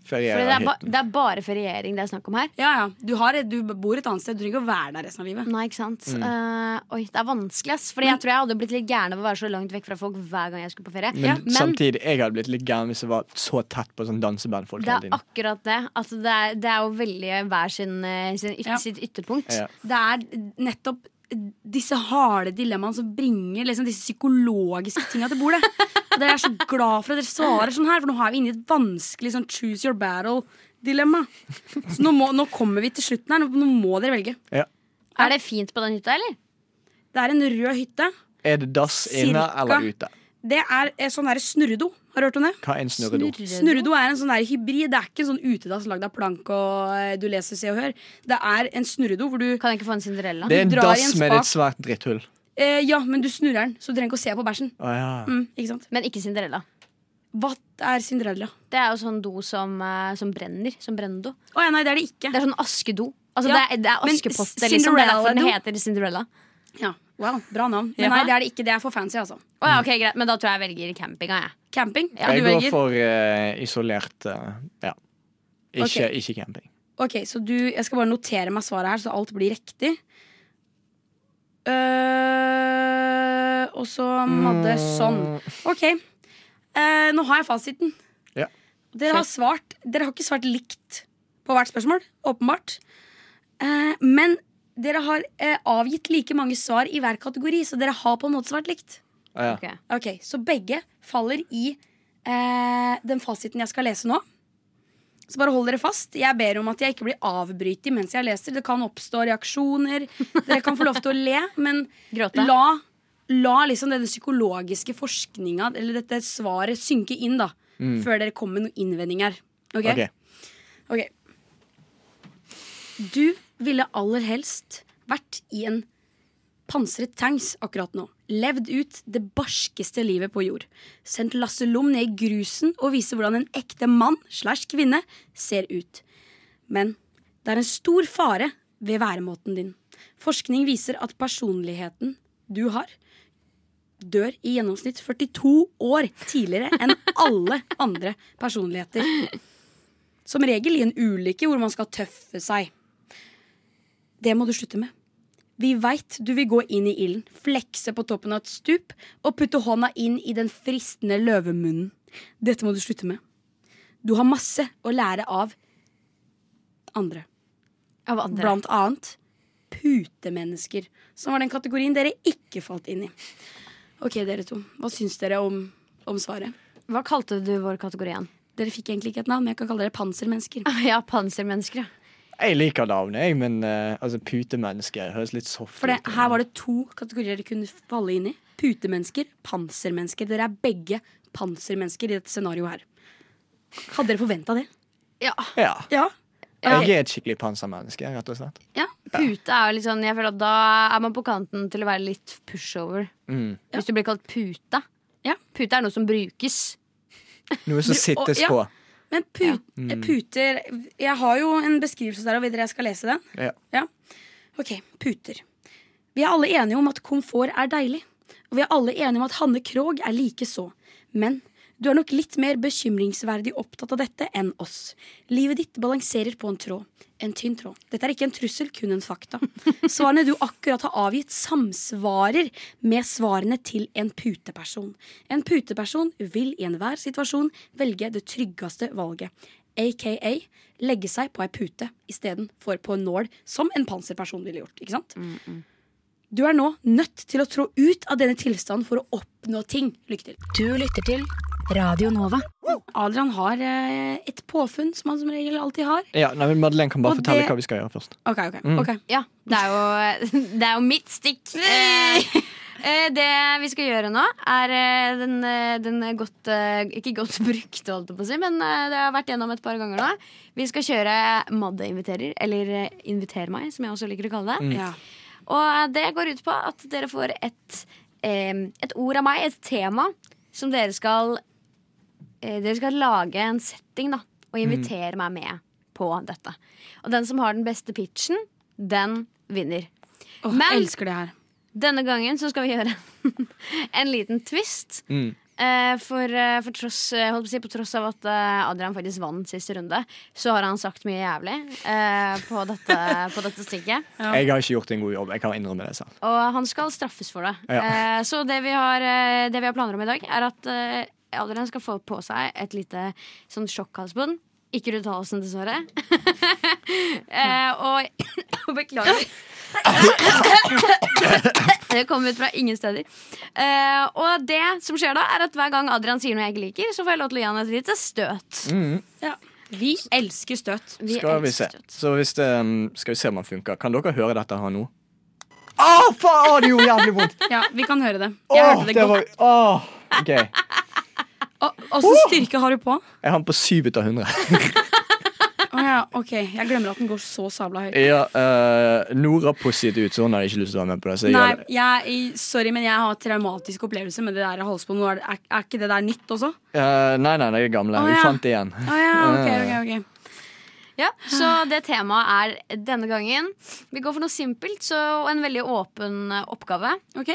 Speaker 7: Fordi det er, ba,
Speaker 6: hytten.
Speaker 7: det er bare feriering det er snakk om her.
Speaker 5: Ja, ja. Du, har, du bor et annet sted, du trenger ikke å være der resten av livet.
Speaker 7: Nei, ikke sant? Eh, oi, det er vanskelig, ass. Fordi jeg tror jeg hadde blitt litt gæren av å være så langt vekk fra folk hver gang jeg skulle på ferie.
Speaker 6: Men, samtidig, jeg hadde blitt litt gæren hvis jeg var så tett på sånn dansebandfolk
Speaker 7: det
Speaker 6: hele
Speaker 7: er
Speaker 6: tiden.
Speaker 7: akkurat det. Altså, det, er, det er jo veldig hver sin, eh, sin yt,
Speaker 5: Ja.
Speaker 7: sitt ytterpunkt.
Speaker 6: Ja.
Speaker 5: Det er nettopp disse harde dilemmaene som bringer liksom disse psykologiske tinga til bordet. Og dere er så glad for at dere svarer sånn her, for nå er vi inne i et vanskelig sånn choose your battle-dilemma. Så nå, må, nå kommer vi til slutten her. Nå, nå må dere velge.
Speaker 6: Ja.
Speaker 7: Er det fint på den hytta, eller?
Speaker 5: Det er en rød hytte.
Speaker 6: Er det dass inne
Speaker 5: Cirka.
Speaker 6: eller ute?
Speaker 5: Det er en sånn derre snurredo. Har du hørt om det?
Speaker 6: Hva er en snurredo?
Speaker 5: Snurredo er en sånn der hybrid. Det er ikke en sånn utedass lagd av plank og eh, du leser Se og Hør. Det er en snurredo hvor du
Speaker 7: Kan jeg ikke få en Cinderella?
Speaker 6: Det er en
Speaker 5: Du drar i
Speaker 6: dass
Speaker 5: en
Speaker 6: med
Speaker 5: spak.
Speaker 6: et svært dritthull.
Speaker 5: eh, Ja, men du snurrer den, så du trenger ikke å se på bæsjen.
Speaker 6: Å ja.
Speaker 5: Mm, ikke sant?
Speaker 7: Men ikke Cinderella.
Speaker 5: Hva er Cinderella?
Speaker 7: Det er jo sånn do som, eh, som brenner. Som brennendo.
Speaker 5: Å ja, nei, det er det ikke.
Speaker 7: Det er sånn askedo. Altså,
Speaker 5: Ja,
Speaker 7: det er, det er
Speaker 5: men
Speaker 7: askepotte, liksom. Det er derfor den
Speaker 5: Cinderella-do?
Speaker 7: heter Cinderella.
Speaker 5: Ja, wow, Bra navn. Men
Speaker 7: Jaha.
Speaker 5: nei, det er det ikke. Det er for fancy, altså.
Speaker 7: Å ja, ok, greit. Men da tror jeg jeg velger campinga, jeg.
Speaker 5: Camping. Ja,
Speaker 6: Jeg
Speaker 5: du
Speaker 6: går
Speaker 5: velger.
Speaker 6: for eh, isolert eh, Ja. Ikke,
Speaker 5: Ok.
Speaker 6: ikke camping.
Speaker 5: Ok, så du, Jeg skal bare notere meg svaret her, så alt blir riktig. Eh, og så Madde sånn. Ok. Eh, nå har jeg fasiten.
Speaker 6: Ja.
Speaker 5: Dere har svart Dere har ikke svart likt på hvert spørsmål, åpenbart. Eh, men dere har eh, avgitt like mange svar i hver kategori, så dere har på en måte svart likt.
Speaker 6: Å Ah, ja.
Speaker 7: Ok.
Speaker 5: Ok, Så begge faller i eh, den fasiten jeg skal lese nå. Så bare hold dere fast. Jeg ber om at jeg ikke blir avbrytet mens jeg leser. Det kan oppstå reaksjoner. Dere kan få lov til å le, men
Speaker 7: Gråte.
Speaker 5: la, la liksom denne psykologiske forskninga, eller dette svaret, synke inn, da. Før dere kommer med noen innvendinger. Ok?
Speaker 6: Ok.
Speaker 5: Ok. Du ville aller helst vært i en pansret tanks akkurat nå. Levd ut det barskeste livet på jord. Sendt Lasse Lom ned i grusen og vise hvordan en ekte mann slash kvinne ser ut. Men det er en stor fare ved væremåten din. Forskning viser at personligheten du har, dør i gjennomsnitt 42 år tidligere enn alle andre personligheter. Som regel i en ulykke hvor man skal tøffe seg. Det må du slutte med. Vi veit du vil gå inn i ilden, flekse på toppen av et stup og putte hånda inn i den fristende løvemunnen. Dette må du slutte med. Du har masse å lære av andre.
Speaker 7: Av andre.
Speaker 5: Blant annet putemennesker, som var den kategorien dere ikke falt inn i. Ok, dere to. Hva syns dere om, om svaret?
Speaker 7: Hva kalte du vår kategori igjen? [laughs]
Speaker 5: Dere fikk egentlig ikke et navn, men jeg kan kalle dere pansermennesker.
Speaker 7: Ja, pansermennesker, ja.
Speaker 6: Jeg liker navnet, jeg, men eh, altså, putemenneske høres litt soft
Speaker 5: For det,
Speaker 6: ut.
Speaker 5: her var det to kategorier dere kunne falle inn i. Putemennesker, pansermennesker. Dere er begge pansermennesker i dette scenarioet her. Hadde dere forventa det?
Speaker 7: Ja,
Speaker 6: Ja.
Speaker 5: Ja.
Speaker 6: Jeg er et skikkelig pansermenneske, rett og slett.
Speaker 7: Pute er jo litt sånn Jeg føler at da er man på kanten til å være litt pushover.
Speaker 6: Mm.
Speaker 7: Hvis du blir kalt pute.
Speaker 5: Ja.
Speaker 7: Pute er noe som brukes.
Speaker 6: Noe
Speaker 5: Du-
Speaker 6: som
Speaker 5: og-
Speaker 6: sittes
Speaker 5: ja.
Speaker 6: på.
Speaker 5: Men pu puter Jeg har jo en beskrivelse der, og vil dere jeg skal lese den?
Speaker 6: Ja.
Speaker 5: Ok, puter. Vi er alle enige om at komfort er deilig. Og vi er alle enige om at Hanne Krogh er likeså. Men du er nok litt mer bekymringsverdig opptatt av dette enn oss. Livet ditt balanserer på en tråd. En tynn tråd. Dette er ikke en trussel, kun en fakta. Svarene du akkurat har avgitt, samsvarer med svarene til en puteperson. En puteperson vil i enhver situasjon velge det tryggeste valget. AKA legge seg på ei pute istedenfor på en nål, som en panserperson ville gjort. ikke sant? Du er nå nødt til å trå ut av denne tilstanden for å oppnå ting. Lykke til.
Speaker 8: Du lytter til Radio Nova.
Speaker 5: Adrian har eh, et påfunn, som han som regel alltid har.
Speaker 6: Ja, nei, men Madeleine kan
Speaker 5: Og
Speaker 6: bare fortelle
Speaker 5: det-
Speaker 6: hva vi skal gjøre først.
Speaker 5: Ok, ok, ok.
Speaker 7: Ja, det er jo, [laughs] det er jo mitt stikk. Eh, eh, det vi skal gjøre nå, er eh, den, eh, den godt eh, Ikke godt [laughs] brukte, holdt jeg på å si, men eh, det har vært gjennom et par ganger nå. Vi skal kjøre Madde inviterer, eller eh, Inviter meg, som jeg også liker å kalle det.
Speaker 5: Ja.
Speaker 7: Og eh, det går ut på at dere får et, eh, et ord av meg, et tema, som dere skal eh, Dere skal lage en setting, da, og invitere meg med på dette. Og den som har den beste pitchen, den vinner.
Speaker 5: Åh,
Speaker 7: Men-
Speaker 5: jeg elsker det her.
Speaker 7: Denne gangen så skal vi gjøre [laughs] en liten twist.
Speaker 6: Mm.
Speaker 7: Eh, for eh, for tross, eh, holdt på, å si, på tross av at eh, Adrian faktisk vant siste runde, så har han sagt mye jævlig eh, på, dette, på dette stikket.
Speaker 6: Jeg har ikke gjort en god jobb. Jeg kan innrømme det selv.
Speaker 7: Og han skal straffes for det.
Speaker 6: Ja.
Speaker 7: Eh, så det vi, har, eh, det vi har planer om i dag, er at eh, Adrian skal få på seg et lite sånn sjokkhalsbånd. Ikke Ruud Halsen, dessverre. [laughs] eh, og [coughs] Beklager. [coughs] Det kom ut fra ingen steder. Eh, og det som skjer da, er at hver gang Adrian sier noe jeg ikke liker, så får jeg lov til å gi han et lite støt.
Speaker 5: Vi elsker støt.
Speaker 6: Mm,
Speaker 7: Vi
Speaker 6: Skal vi se.
Speaker 7: elsker støt.
Speaker 6: Så hvis det, um, skal vi se om den funker. Kan dere høre dette her nå? Å, faen! Å, Det gjorde jævlig vondt!
Speaker 5: Ja, vi kan høre det. Jeg
Speaker 6: Åh,
Speaker 5: hørte det
Speaker 6: det
Speaker 5: godt.
Speaker 6: var, åh, ok. Jeg
Speaker 5: Og, og så styrke har du på?
Speaker 6: har den på syv ut av
Speaker 5: [laughs]
Speaker 6: hundre.
Speaker 5: Å ja, ok. Jeg glemmer at den går så sabla høyt.
Speaker 6: Ja, eh, Nora pusset ut, så hun har ikke lyst til å være med på det. Så jeg
Speaker 5: Nei,
Speaker 6: gjør det.
Speaker 5: jeg, sorry, men jeg har traumatisk opplevelse med det der halsbåndet. Nå er det- Er, er ikke det der nytt også?
Speaker 6: Eh, nei, nei, det er gamle.
Speaker 5: Å,
Speaker 6: Vi
Speaker 5: ja.
Speaker 6: fant det igjen.
Speaker 5: Å ja, ok, ok, ok.
Speaker 7: Ja, Så det temaet er denne gangen. Vi går for noe simpelt så, og en veldig åpen eh, oppgave.
Speaker 5: Ok.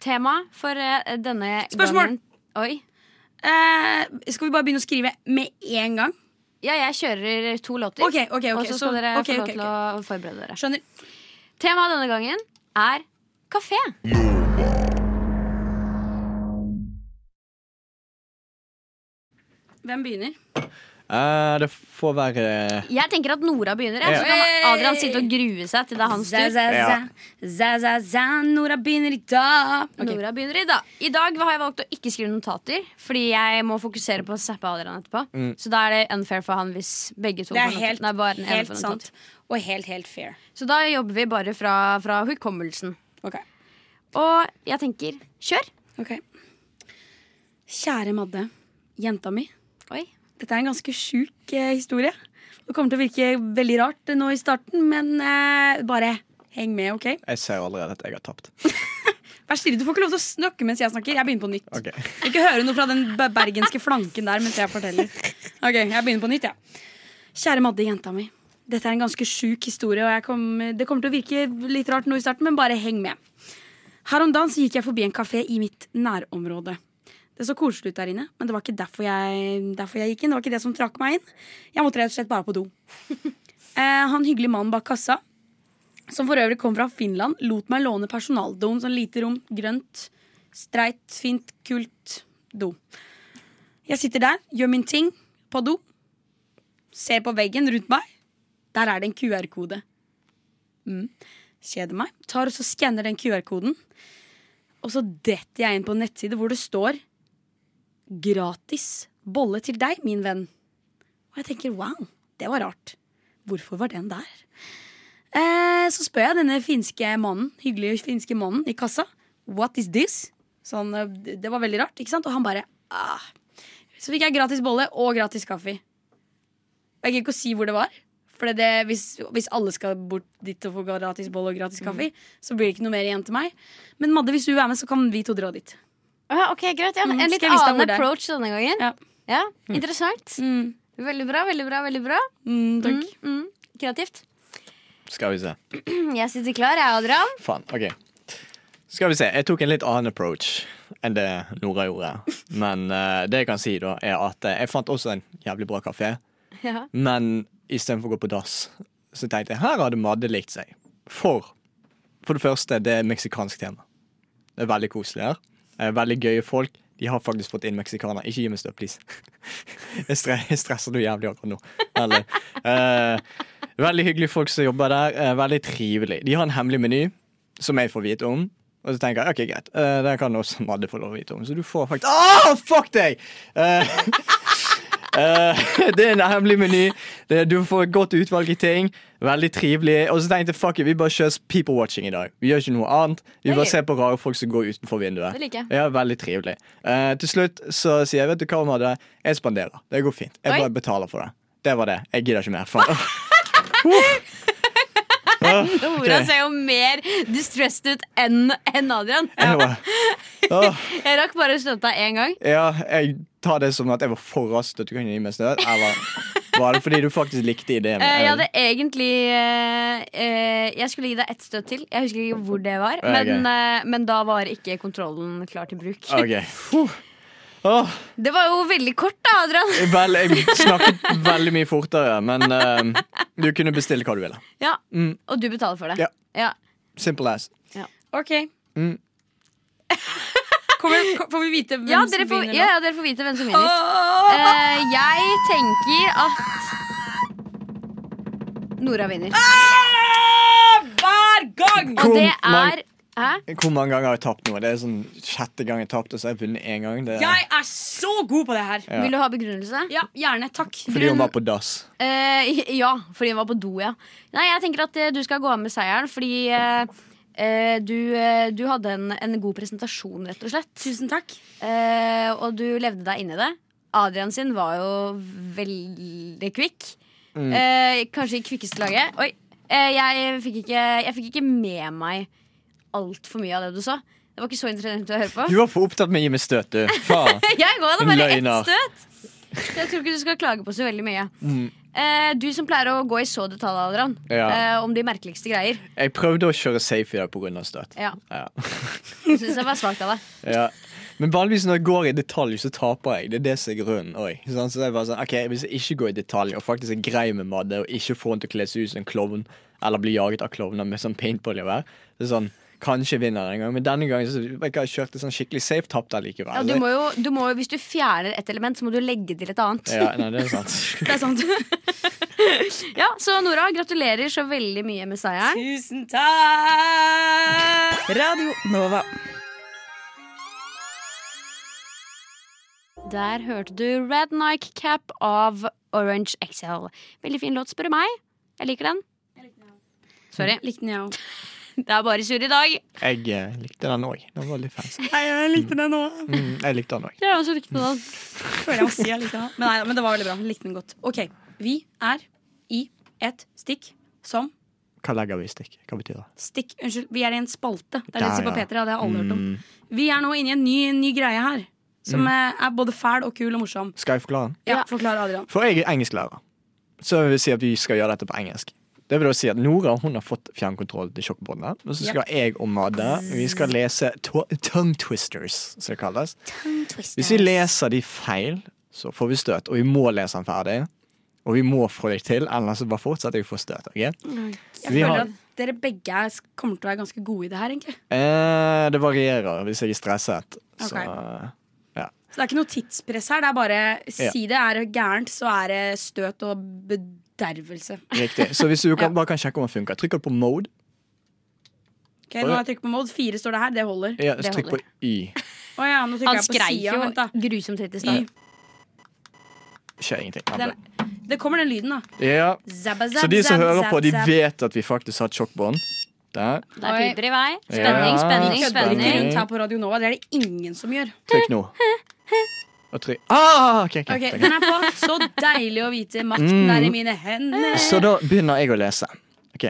Speaker 7: Tema for eh, denne
Speaker 5: Spørsmål!
Speaker 7: gangen Oi.
Speaker 5: Eh, skal vi bare begynne å skrive med en gang?
Speaker 7: Ja, jeg kjører to låter.
Speaker 5: Ok, ok, ok
Speaker 7: Og så skal dere
Speaker 5: ok,
Speaker 7: få lov
Speaker 5: ok,
Speaker 7: til
Speaker 5: ok.
Speaker 7: å forberede dere.
Speaker 5: Skjønner.
Speaker 7: Temaet denne gangen er kafé.
Speaker 5: Hvem begynner?
Speaker 6: Eh, det får være
Speaker 7: Jeg tenker at Nora begynner. Jeg.
Speaker 6: Ja.
Speaker 7: Så kan Adrian sitte og grue seg til det er hans
Speaker 5: Za,
Speaker 7: tur.
Speaker 5: za, za.
Speaker 6: Ja.
Speaker 5: Za, za, za. Nora begynner i dag.
Speaker 7: Nora begynner i dag. I dag har jeg valgt å ikke skrive notater, fordi jeg må fokusere på å zappe Adrian etterpå.
Speaker 6: Mm.
Speaker 7: Så da er det unfair for han hvis begge to
Speaker 5: Det
Speaker 7: får
Speaker 5: er
Speaker 7: notater.
Speaker 5: helt,
Speaker 7: Nei, bare den ene
Speaker 5: helt
Speaker 7: får
Speaker 5: sant.
Speaker 7: notater.
Speaker 5: Og helt, helt fair.
Speaker 7: Så da jobber vi bare fra, fra hukommelsen.
Speaker 5: Ok.
Speaker 7: Og jeg tenker kjør.
Speaker 5: Ok. Kjære Madde, jenta mi.
Speaker 7: Oi.
Speaker 5: Dette er en ganske sjuk eh, historie. Det kommer til å virke veldig rart eh, nå i starten, men eh, bare Heng med, ok?
Speaker 6: Jeg ser jo allerede at jeg har tapt.
Speaker 5: Vær stille, du får ikke lov til å snakke mens jeg snakker. Jeg begynner på nytt.
Speaker 6: Ok.
Speaker 5: Ikke høre noe fra den be- bergenske flanken der mens jeg forteller. Ok, jeg begynner på nytt, jeg. Kjære Madde, jenta mi. Dette er en ganske sjuk historie, og jeg kom, det kommer til å virke litt rart nå i starten, men bare heng med. Her om dagen så gikk jeg forbi en kafé i mitt nærområde. Det så koselig ut der inne, men det var ikke derfor jeg, derfor jeg gikk inn. Det var ikke det som trakk meg inn. Jeg måtte rett og slett bare på do. [laughs] Eh, han hyggelige mannen bak kassa, som for øvrig kom fra Finland, lot meg låne personaldoen. Sånn lite rom, grønt, streit, fint, kult do. Jeg sitter der, gjør min ting på do. Ser på veggen rundt meg. Der er det en QR-kode. Mm. Kjeder meg. Tar og så skanner den QR-koden. Og så detter jeg inn på en nettside hvor det står 'Gratis bolle til deg, min venn'. Og jeg tenker wow, det var rart. Hvorfor var den der? Eh, så spør jeg denne finske mannen, hyggelige finske mannen i kassa What is this? Sånn, eh, det- det var veldig rart, ikke sant? Og han bare ah. Så fikk jeg gratis bolle og gratis kaffe. Og jeg gidder ikke å si hvor det var. For det, hvis, hvis alle skal bort dit og få gratis bolle og gratis kaffe, så blir det ikke noe mer igjen til meg. Men Madde, hvis du er med, så kan vi to dra dit.
Speaker 7: Ah, ok, greit, ja, men
Speaker 5: Mm,
Speaker 7: En litt
Speaker 5: skal jeg vise deg hvor
Speaker 7: annen
Speaker 5: det er?
Speaker 7: approach denne gangen.
Speaker 5: Ja.
Speaker 7: Ja, Interessant. Veldig bra, veldig bra. veldig bra
Speaker 5: Mm, takk.
Speaker 7: mm, mm. Kreativt.
Speaker 6: Skal vi se.
Speaker 5: Mm,
Speaker 7: Jeg sitter klar, jeg, [laughs] Adrian.
Speaker 6: Faen. OK. Skal vi se. Jeg tok en litt annen approach enn det Nora gjorde. Men eh, det jeg kan si, da, er at eh, jeg fant også en jævlig bra kafé.
Speaker 7: Ja.
Speaker 6: Men istedenfor å gå på dass, så tenkte jeg her hadde Madde likt seg. For for det første, det er meksikansk tema. Det er veldig koselig her. Eh, Veldig gøye folk. De har faktisk fått inn meksikanere. Ikke gi meg støtt, please. [laughs] Jeg, stre jeg stresser noe jævlig akkurat nå. Veldig. Eh, veldig hyggelige folk som jobber der. eh, veldig trivelig. De har en hemmelig meny som jeg får vite om. Og så tenker jeg ok, greit, eh, den kan også Madde få lov å vite om. Så du får faktisk Åh, fuck deg! Eh, [laughs] Eh, det er en hemmelig meny. Det- Du får et godt utvalg i ting. Veldig trivelig. Og så tenkte jeg fuck it, vi bare kjører people watching i dag. Vi gjør ikke noe annet. Vi
Speaker 7: Det er
Speaker 6: bare
Speaker 7: gøy.
Speaker 6: ser på rare folk som går utenfor vinduet.
Speaker 7: Det liker jeg.
Speaker 6: Ja, veldig trivelig. Eh, til slutt så sier jeg vet du hva, Madde, jeg spanderer. Det går fint. Jeg
Speaker 7: Oi.
Speaker 6: bare betaler for det. Det var det. Jeg gidder ikke mer. Faen. Åh,
Speaker 7: Nora
Speaker 6: ok.
Speaker 7: ser jo mer distressed ut enn enn Adrian.
Speaker 6: Jeg bare- Åh.
Speaker 7: Jeg rakk bare å støtte deg én gang.
Speaker 6: Ja, jeg tar det som at jeg var for rask til at du kunne gi meg støt. Eller var det fordi du faktisk likte ideen?
Speaker 7: Eh, jeg hadde egentlig eh, eh, Jeg skulle gi deg ett støt til. Jeg husker ikke hvor det var.
Speaker 6: Ja,
Speaker 7: Men, eh, men da var ikke kontrollen klar til bruk.
Speaker 6: Ok. Huh. Åh,
Speaker 7: Det var jo veldig kort, da, Adrian.
Speaker 6: vel, jeg snakket veldig mye fortere, men eh, du kunne bestille hva du ville.
Speaker 7: Ja,
Speaker 6: Mm.
Speaker 7: Og du betaler for det.
Speaker 6: Ja.
Speaker 7: Ja.
Speaker 6: Simple as.
Speaker 5: Ok.
Speaker 6: Mm.
Speaker 5: Kommer, kom, får vi vite hvem
Speaker 7: Ja, dere
Speaker 5: som
Speaker 7: får,
Speaker 5: begynner
Speaker 7: ja,
Speaker 5: nå?
Speaker 7: ja, dere får vite hvem som vinner.
Speaker 5: Åh!
Speaker 7: Eh, jeg tenker at Nora vinner.
Speaker 5: Ah! Hver gang!
Speaker 7: Og
Speaker 6: Hvor
Speaker 7: det er
Speaker 6: mange-
Speaker 7: Hæ?
Speaker 6: Hvor mange ganger har jeg tapt nå? Det er sånn sjette gang jeg har tapt, og så har jeg vunnet én gang. Det er
Speaker 5: Jeg er så god på det her.
Speaker 6: Ja.
Speaker 7: Vil du ha begrunnelse?
Speaker 5: Ja, gjerne. Takk.
Speaker 6: fordi hun var på dass.
Speaker 7: Eh, [laughs] ja, fordi hun var på do, ja. Nei, jeg tenker at eh, du skal gå av med seieren, fordi eh, eh, du, eh, du hadde en, en god presentasjon, rett og slett.
Speaker 5: Tusen takk.
Speaker 7: Eh, og du levde deg inn i det. Adrian sin var jo veldig kvikk. Eh, kanskje i kvikkeste laget. Oi. Eh, jeg, fikk ikke, jeg fikk ikke med meg altfor mye av det du sa. Det var ikke så interessant å høre på.
Speaker 6: Du var for opptatt med å gi meg støt, du. Faen.
Speaker 7: Jeg ga deg bare ett
Speaker 6: Løgner.
Speaker 7: støt. Så jeg tror ikke du skal klage på så veldig mye. Eh, du som pleier å gå i så detalj, Adrian,
Speaker 6: Ja.
Speaker 7: eh, om de merkeligste greier.
Speaker 6: Jeg prøvde å kjøre safe i dag pga. støt.
Speaker 7: Ja,
Speaker 6: Ja.
Speaker 7: jeg synes det var svakt av deg.
Speaker 6: Ja. Men vanligvis når jeg går i detalj, så taper jeg. Det er det som er grunnen. Oi. Sånn, så jeg bare sånn, ok, Hvis jeg ikke går i detalj og faktisk er grei med Madde og ikke får henne til å kle seg ut som en klovn eller bli jaget av klovner med sånn paintballjevær så sånn, Kanskje vinner jeg en gang, men denne gangen så, jeg har kjørt det sånn skikkelig safe, tapte jeg likevel.
Speaker 7: Ja, du må jo, du må jo, hvis du fjerner et element, så må du legge til et annet.
Speaker 6: ja, nei, det er sant. [laughs]
Speaker 5: Det er sant.
Speaker 7: [laughs] Ja, så Nora, gratulerer så veldig mye med seieren.
Speaker 5: Tusen takk!
Speaker 2: Radio Nova.
Speaker 7: Der hørte du Red Nike Cap av Orange XL. Veldig fin låt, spør du meg. Jeg liker den. Sorry.
Speaker 5: Likte den, jeg òg.
Speaker 7: [laughs] Det er bare surr i dag.
Speaker 6: Jeg eh, likte den òg. Den var litt fancy.
Speaker 5: Jeg likte den òg.
Speaker 6: Mm, jeg likte den òg.
Speaker 7: Jeg også likte den.
Speaker 5: Føler jeg må si jeg likte den. Men, nei, men det var veldig bra. Jeg Likte den godt. Ok, vi er i et stikk som
Speaker 6: Hva legger vi i stikk? Hva betyr det?
Speaker 5: Stikk, unnskyld, vi er i en spalte. Det er
Speaker 6: Der,
Speaker 5: det som på
Speaker 6: ja.
Speaker 5: P3, ja, det har alle hørt om.
Speaker 6: Mm.
Speaker 5: Vi er nå inne i en ny, ny greie her. Som eh, er både fæl og kul og morsom.
Speaker 6: Skal jeg forklare den?
Speaker 5: Ja, Forklar, Adrian.
Speaker 6: For jeg er engelsklærer. Så jeg vil si at vi skal gjøre dette på engelsk. Det vil da si at Nora hun har fått fjernkontroll til sjokkbåndet. Og så skal jeg og Madde vi skal lese to tongue twisters, som det kalles. Hvis vi leser de feil, så får vi støt. Og vi må lese den ferdig. Og vi må få det til, ellers så bare fortsetter jeg å få støt. ok?
Speaker 5: Jeg
Speaker 6: Vi
Speaker 5: føler
Speaker 6: har-
Speaker 5: at dere begge er, kommer til å være ganske gode i det her, egentlig.
Speaker 6: Eh, det varierer hvis jeg er stresset. Så ja.
Speaker 5: Så det er ikke noe tidspress her. Det er bare si det er gærent, så er det støt og bedervelse.
Speaker 6: Riktig. Så hvis
Speaker 7: [laughs]
Speaker 6: du kan, bare kan sjekke om den funker, trykk på mode.
Speaker 5: Ok, Nå har jeg trykket på mode. Fire står det her. Det holder.
Speaker 6: Ja,
Speaker 7: Det
Speaker 6: trykk på
Speaker 7: holder.
Speaker 6: Y.
Speaker 5: Å ja, nå trykker
Speaker 7: Han
Speaker 5: jeg på
Speaker 7: skreik
Speaker 5: siden.
Speaker 7: jo
Speaker 5: Vent, da.
Speaker 7: grusomt høyt i stad.
Speaker 6: Skjer ingenting. Ja,
Speaker 5: Den, det kommer den lyden, da.
Speaker 6: Ja.
Speaker 5: Zabba, zab,
Speaker 6: Så de som
Speaker 5: zab,
Speaker 6: hører
Speaker 5: zab,
Speaker 6: på, de
Speaker 5: zab.
Speaker 6: vet at vi faktisk har sjokkbånd. Der.
Speaker 7: Det er piper i vei.
Speaker 6: Ja,
Speaker 7: Spenning,
Speaker 5: Kødder
Speaker 7: spenning,
Speaker 5: ikke
Speaker 7: spenning.
Speaker 5: rundt her på Radio Nova. Det er det ingen som gjør.
Speaker 6: Trykk
Speaker 5: [laughs]
Speaker 6: nå. Og trykk ah, ok, ok,
Speaker 5: Ok,
Speaker 6: ok.
Speaker 5: Den er på. Så deilig å vite.
Speaker 6: Mm.
Speaker 5: Makten er i mine hender.
Speaker 6: Så da begynner jeg å lese. Ok.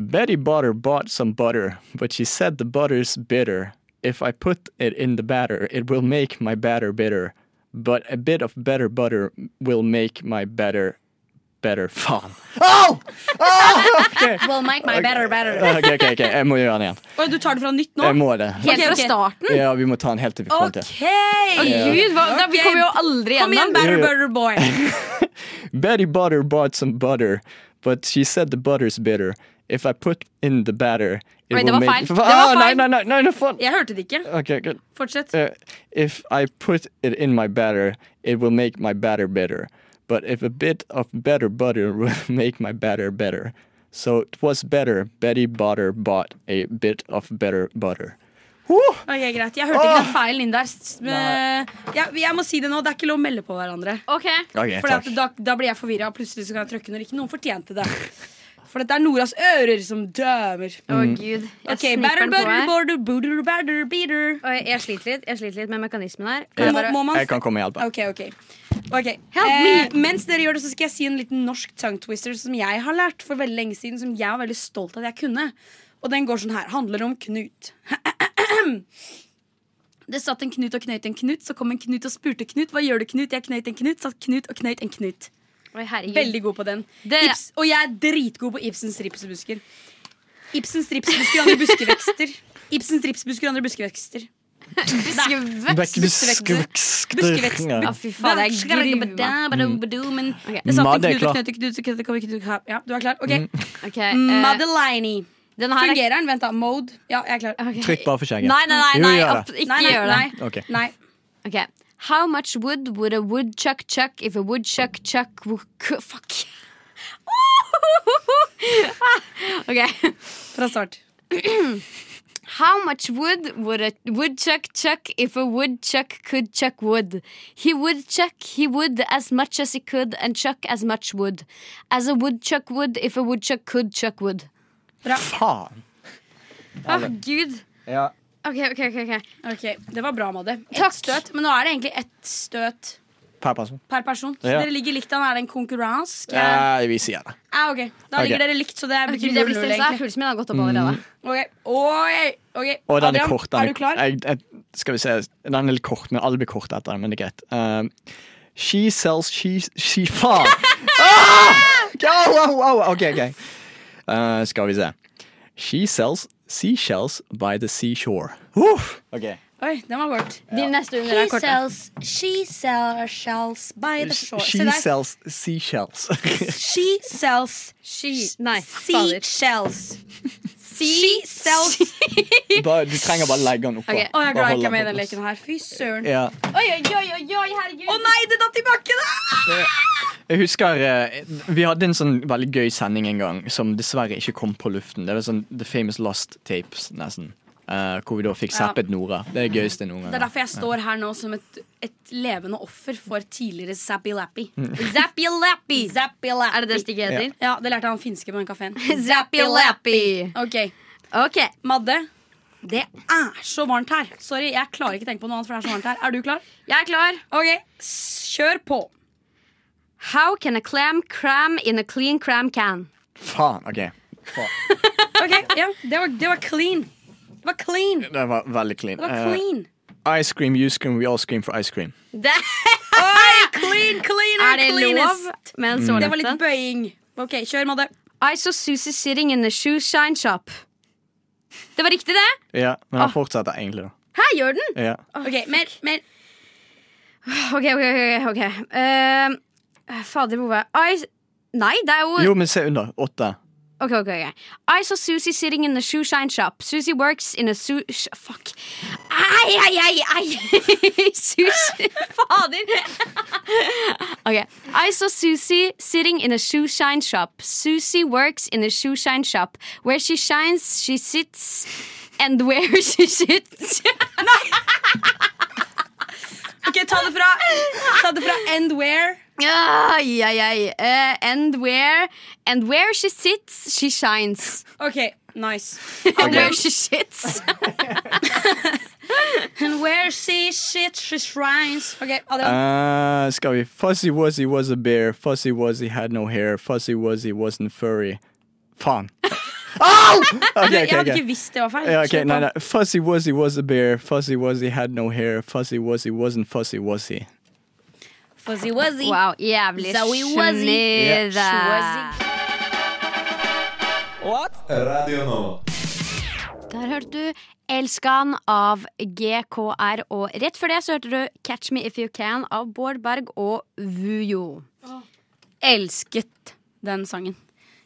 Speaker 6: Betty Butter bought some butter, but she said the butter's bitter. If I put it in the batter, it will make my batter bitter. But a bit of better butter will make my batter better. Faen.
Speaker 5: [laughs]
Speaker 6: Au!
Speaker 7: Well, make my better, better.
Speaker 6: Ok, ok, ok, jeg må gjøre den igjen.
Speaker 5: Oi, du tar det fra nytt nå?
Speaker 6: Jeg må det.
Speaker 7: Helt
Speaker 5: Ok,
Speaker 7: fra
Speaker 5: ok.
Speaker 7: starten.
Speaker 6: Ja, vi må ta den helt til vi får den til.
Speaker 5: OK!
Speaker 7: Gud, hva, da, vi
Speaker 5: Ok.
Speaker 7: kommer jo aldri
Speaker 5: Kom igjen,
Speaker 7: gjennom.
Speaker 5: Better Butter Boy.
Speaker 6: Betty Butter bought some butter, but she said the butter's bitter. If I put in the batter, it
Speaker 7: Wait, det
Speaker 6: will
Speaker 7: var
Speaker 6: make
Speaker 7: feil. Det var
Speaker 6: Ah, Nei,
Speaker 7: feil.
Speaker 6: nei, nei, nei, nei, faen.
Speaker 5: Jeg hørte det ikke.
Speaker 6: Ok, good.
Speaker 5: Fortsett.
Speaker 6: Uh, if I put it in my batter, it will make my batter bitter. But if a bit of better butter [laughs] will make my batter better. So it was better Betty Butter bought a bit of better butter.
Speaker 5: Ok, greit. Jeg hørte ikke den feilen inn der. S- eh, Ja, jeg må si det nå. Det er ikke lov å melde på hverandre.
Speaker 7: Ok,
Speaker 6: Ok,
Speaker 5: For da, da blir jeg forvirra, og plutselig så kan jeg trykke når ikke noen fortjente det. For dette er Noras ører som dømer.
Speaker 7: Å,
Speaker 6: Mm.
Speaker 7: gud. Jeg
Speaker 5: Ok,
Speaker 7: sniffer
Speaker 5: batter,
Speaker 7: den Mm. på
Speaker 5: butter,
Speaker 7: her.
Speaker 5: border, booter, batter, beater.
Speaker 7: Oi, jeg sliter litt Jeg sliter litt med mekanismen her. Kan jeg
Speaker 5: Må,
Speaker 7: bare-
Speaker 5: må man
Speaker 6: Jeg kan komme og hjelpe.
Speaker 5: Ok, ok. Ok, eh,
Speaker 7: Help
Speaker 5: Mens dere gjør det, så skal jeg si en liten norsk tongue twister som jeg har lært for veldig lenge siden, som jeg var veldig stolt av at jeg kunne. Og den går sånn her. Handler om Knut. [clears throat] Det satt en Knut og knøyt en Knut, så kom en Knut og spurte Knut. Hva gjør du, Knut? Jeg knøyt en Knut, satt Knut og knøyt en Knut.
Speaker 7: Oi, herregud.
Speaker 5: Veldig god på den.
Speaker 7: Det-
Speaker 5: Ibs, og jeg er dritgod på Ibsens ripsbusker. Ibsens ripsbusker og andre buskevekster. Ibsens ripsbusker og andre buskevekster. Buskevekst.
Speaker 7: Ja, fy faen, jeg gruer meg.
Speaker 5: Men
Speaker 7: Ok.
Speaker 5: det satt
Speaker 6: Madde
Speaker 5: en
Speaker 6: Mm.
Speaker 5: knute,
Speaker 6: er klar. Mm.
Speaker 5: knute, knute, knute, knute, knute, knute. Ja, du er klar? Ok. Mm.
Speaker 7: Ok, eh,
Speaker 5: Madeline.
Speaker 7: den her er
Speaker 5: Fungerer den? Vent, da. Mode. Ja, jeg er klar.
Speaker 7: Ok.
Speaker 6: Trykk bare for skjegget.
Speaker 7: Nei, nei, nei,
Speaker 6: Jo,
Speaker 7: nei
Speaker 6: gjør
Speaker 7: opp-
Speaker 6: det.
Speaker 7: ikke
Speaker 5: Nei, nei,
Speaker 7: gjør det.
Speaker 5: nei.
Speaker 6: Ok.
Speaker 5: nei.
Speaker 7: Ok. How much wood would a woodchuck chuck if a woodchuck chuck wo- k- Fuck. [laughs] ok.
Speaker 5: Fra start.
Speaker 7: How much wood would a woodchuck chuck if a woodchuck could chuck wood? He would chuck he would as much as he could and chuck as much wood. As a woodchuck would if a woodchuck could chuck wood.
Speaker 6: Faen.
Speaker 7: Å, Ah, gud.
Speaker 6: Ja.
Speaker 7: Ok, ok, ok. ok.
Speaker 5: Ok, Det var bra, Madde. Ett
Speaker 7: Takk.
Speaker 5: støt. Men nå er det egentlig ett støt
Speaker 6: Per person.
Speaker 5: per person. Så
Speaker 6: Ja. Eh,
Speaker 5: dere ligger likt an. Er det en konkurranse? Skal jeg-
Speaker 6: Ja, vi sier det.
Speaker 5: Ah, ok, Da
Speaker 6: Ok.
Speaker 5: ligger dere likt, så det
Speaker 7: Å,
Speaker 5: betyr
Speaker 7: Gud, jeg blir Mm.
Speaker 5: 0-0,
Speaker 7: stressa.
Speaker 5: egentlig.
Speaker 7: Pulsen min har gått opp allerede.
Speaker 5: Ok, Oi, ok.
Speaker 6: Og den er
Speaker 5: Adrian,
Speaker 6: kort. Den
Speaker 5: er du klar?
Speaker 6: Jeg, jeg, skal vi se. Den er litt kort, men alle blir korte etter den, men det er greit. Um, she sells she, she
Speaker 5: [laughs]
Speaker 6: Faen! ah! Au, au, au! OK, OK. Uh, skal vi se. She sells seashells by the seashore. Uff. Ok.
Speaker 5: Oi, den var kort.
Speaker 7: Din neste under er kortere.
Speaker 5: sells, she sells shells by the shore. Se
Speaker 6: She
Speaker 5: der.
Speaker 6: sells seashells.
Speaker 5: She sells
Speaker 7: She- Nei, fader. [laughs]
Speaker 5: seashells. She sells
Speaker 6: [laughs] bare, du trenger bare legge den oppå.
Speaker 7: Ok.
Speaker 5: Å, jeg er glad jeg ikke er
Speaker 6: Bare
Speaker 5: med i den
Speaker 6: holde den på
Speaker 5: leken her. Fy søren. Å
Speaker 6: Ja.
Speaker 7: Oi, oi, oi, oi, oi, herregud.
Speaker 5: nei, det datt i bakken! Ah!
Speaker 6: Jeg husker eh, Vi hadde en sånn veldig gøy sending en gang som dessverre ikke kom på luften. Det var sånn The Famous Lost Tapes, nesten. Eh, hvor vi da fikk zappet Nora. Det er det gøyeste noen
Speaker 5: Det er
Speaker 6: gang.
Speaker 5: derfor jeg står her nå som et, et levende offer for tidligere Zappy Lappy.
Speaker 6: Mm.
Speaker 7: Zappy Lappy.
Speaker 5: Zappy Lappy.
Speaker 7: Er det det stikket heter?
Speaker 5: Ja, det lærte han finske på den kafeen.
Speaker 7: [laughs] Zappy Lappy.
Speaker 5: Ok,
Speaker 7: Ok.
Speaker 5: Madde. Det er så varmt her. Sorry, jeg klarer ikke tenke på noe annet, for det er så varmt her. Er du klar?
Speaker 7: Jeg er klar.
Speaker 5: Ok, s- kjør på.
Speaker 7: How can a clam cram in a clean cram can?
Speaker 6: Faen, ok på.
Speaker 5: Ok, ja, det var, det var clean. Det var clean.
Speaker 6: Det var veldig clean.
Speaker 5: Det var
Speaker 6: Eh,
Speaker 5: clean.
Speaker 6: ice cream, you scream, we all scream for ice cream.
Speaker 7: [laughs] Det,
Speaker 5: Oi, clean, clean
Speaker 7: er
Speaker 5: and
Speaker 7: det lov
Speaker 5: cleanest.
Speaker 7: med en så
Speaker 5: Det var
Speaker 7: lett
Speaker 5: litt
Speaker 7: en?
Speaker 5: bøying. Ok, kjør, Madde.
Speaker 7: I saw Susie sitting in the shoe shine shop. Det var riktig, det!
Speaker 6: Ja, men
Speaker 5: Ah.
Speaker 6: han fortsetter egentlig, da.
Speaker 7: Her gjør den!
Speaker 6: Ja.
Speaker 5: Ok, mer, mer.
Speaker 7: Ok, ok, ok. ok Eh, Fader, hvor var jeg? I... Nei, det er jo
Speaker 6: Jo, men se under. Åtte.
Speaker 7: Ok, ok, ok. I saw Susie sitting in the shoe shine shop. Susie works in a shoe... Sh fuck. Ai, ai, ai, [laughs] ai! Susie Fader! [laughs] ok. I saw Susie sitting in a shoe shine shop. Susie works in a shoe shine shop. Where she shines, she sits. And where [laughs] she sits.
Speaker 5: Ok, ta det fra. Ta det fra and where.
Speaker 7: ai, ai, ai. Eh, and where... And where she sits, she shines.
Speaker 5: Ok, nice.
Speaker 7: And where she [laughs] sits.
Speaker 5: And where she shit, she shrines. Ok, Adrian.
Speaker 6: Eh, skal vi Fuzzy Wuzzy was a bear. Fuzzy Wuzzy had no hair. Fuzzy Wuzzy wasn't furry. Faen.
Speaker 5: [laughs]
Speaker 6: Au! Ok, ok,
Speaker 5: jeg hadde
Speaker 6: ok.
Speaker 5: ikke visst det var feil.
Speaker 6: Ja, ok,
Speaker 5: Slutt
Speaker 6: nei,
Speaker 5: da.
Speaker 6: nei. Fuzzy Wuzzy was a bear. Fuzzy Wuzzy had no hair. Fuzzy Wuzzy wasn't Fuzzy Wuzzy.
Speaker 5: Fuzzy wuzzy.
Speaker 7: Wow, jævlig
Speaker 5: Zoe Wuzzy.
Speaker 7: snedig.
Speaker 1: Radio Nova.
Speaker 7: Der hørte du Elskan av GKR, og rett før det så hørte du Catch Me If You Can av Bård Berg og Vujo.
Speaker 5: Elsket den sangen.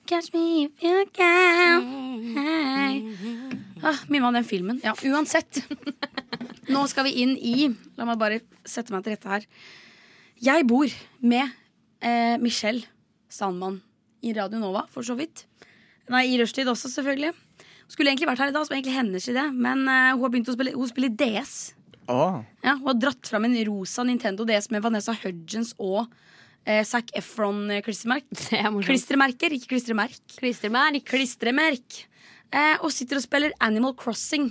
Speaker 7: Catch me if you can.
Speaker 5: Ah, Mimma, den filmen. Ja, uansett. Nå skal vi inn i La meg bare sette meg til rette her. Jeg bor med eh, Michelle Sandmann i Radio Nova, for så vidt. Nei, i rushtid også, selvfølgelig. Skulle egentlig vært her i dag, som er egentlig hennes idé, men eh, hun har begynt å spille, hun spiller DS.
Speaker 6: Å,
Speaker 5: Ja, hun har dratt fram en rosa Nintendo DS med Vanessa Hudgens og eh, Zac
Speaker 7: [laughs]
Speaker 5: Efron-klistremerker.
Speaker 7: Det er morsomt.
Speaker 5: Klistremerker, ikke klistremerk.
Speaker 7: Klistremerk.
Speaker 5: Klistremerk. Eh, og sitter og spiller Animal Crossing.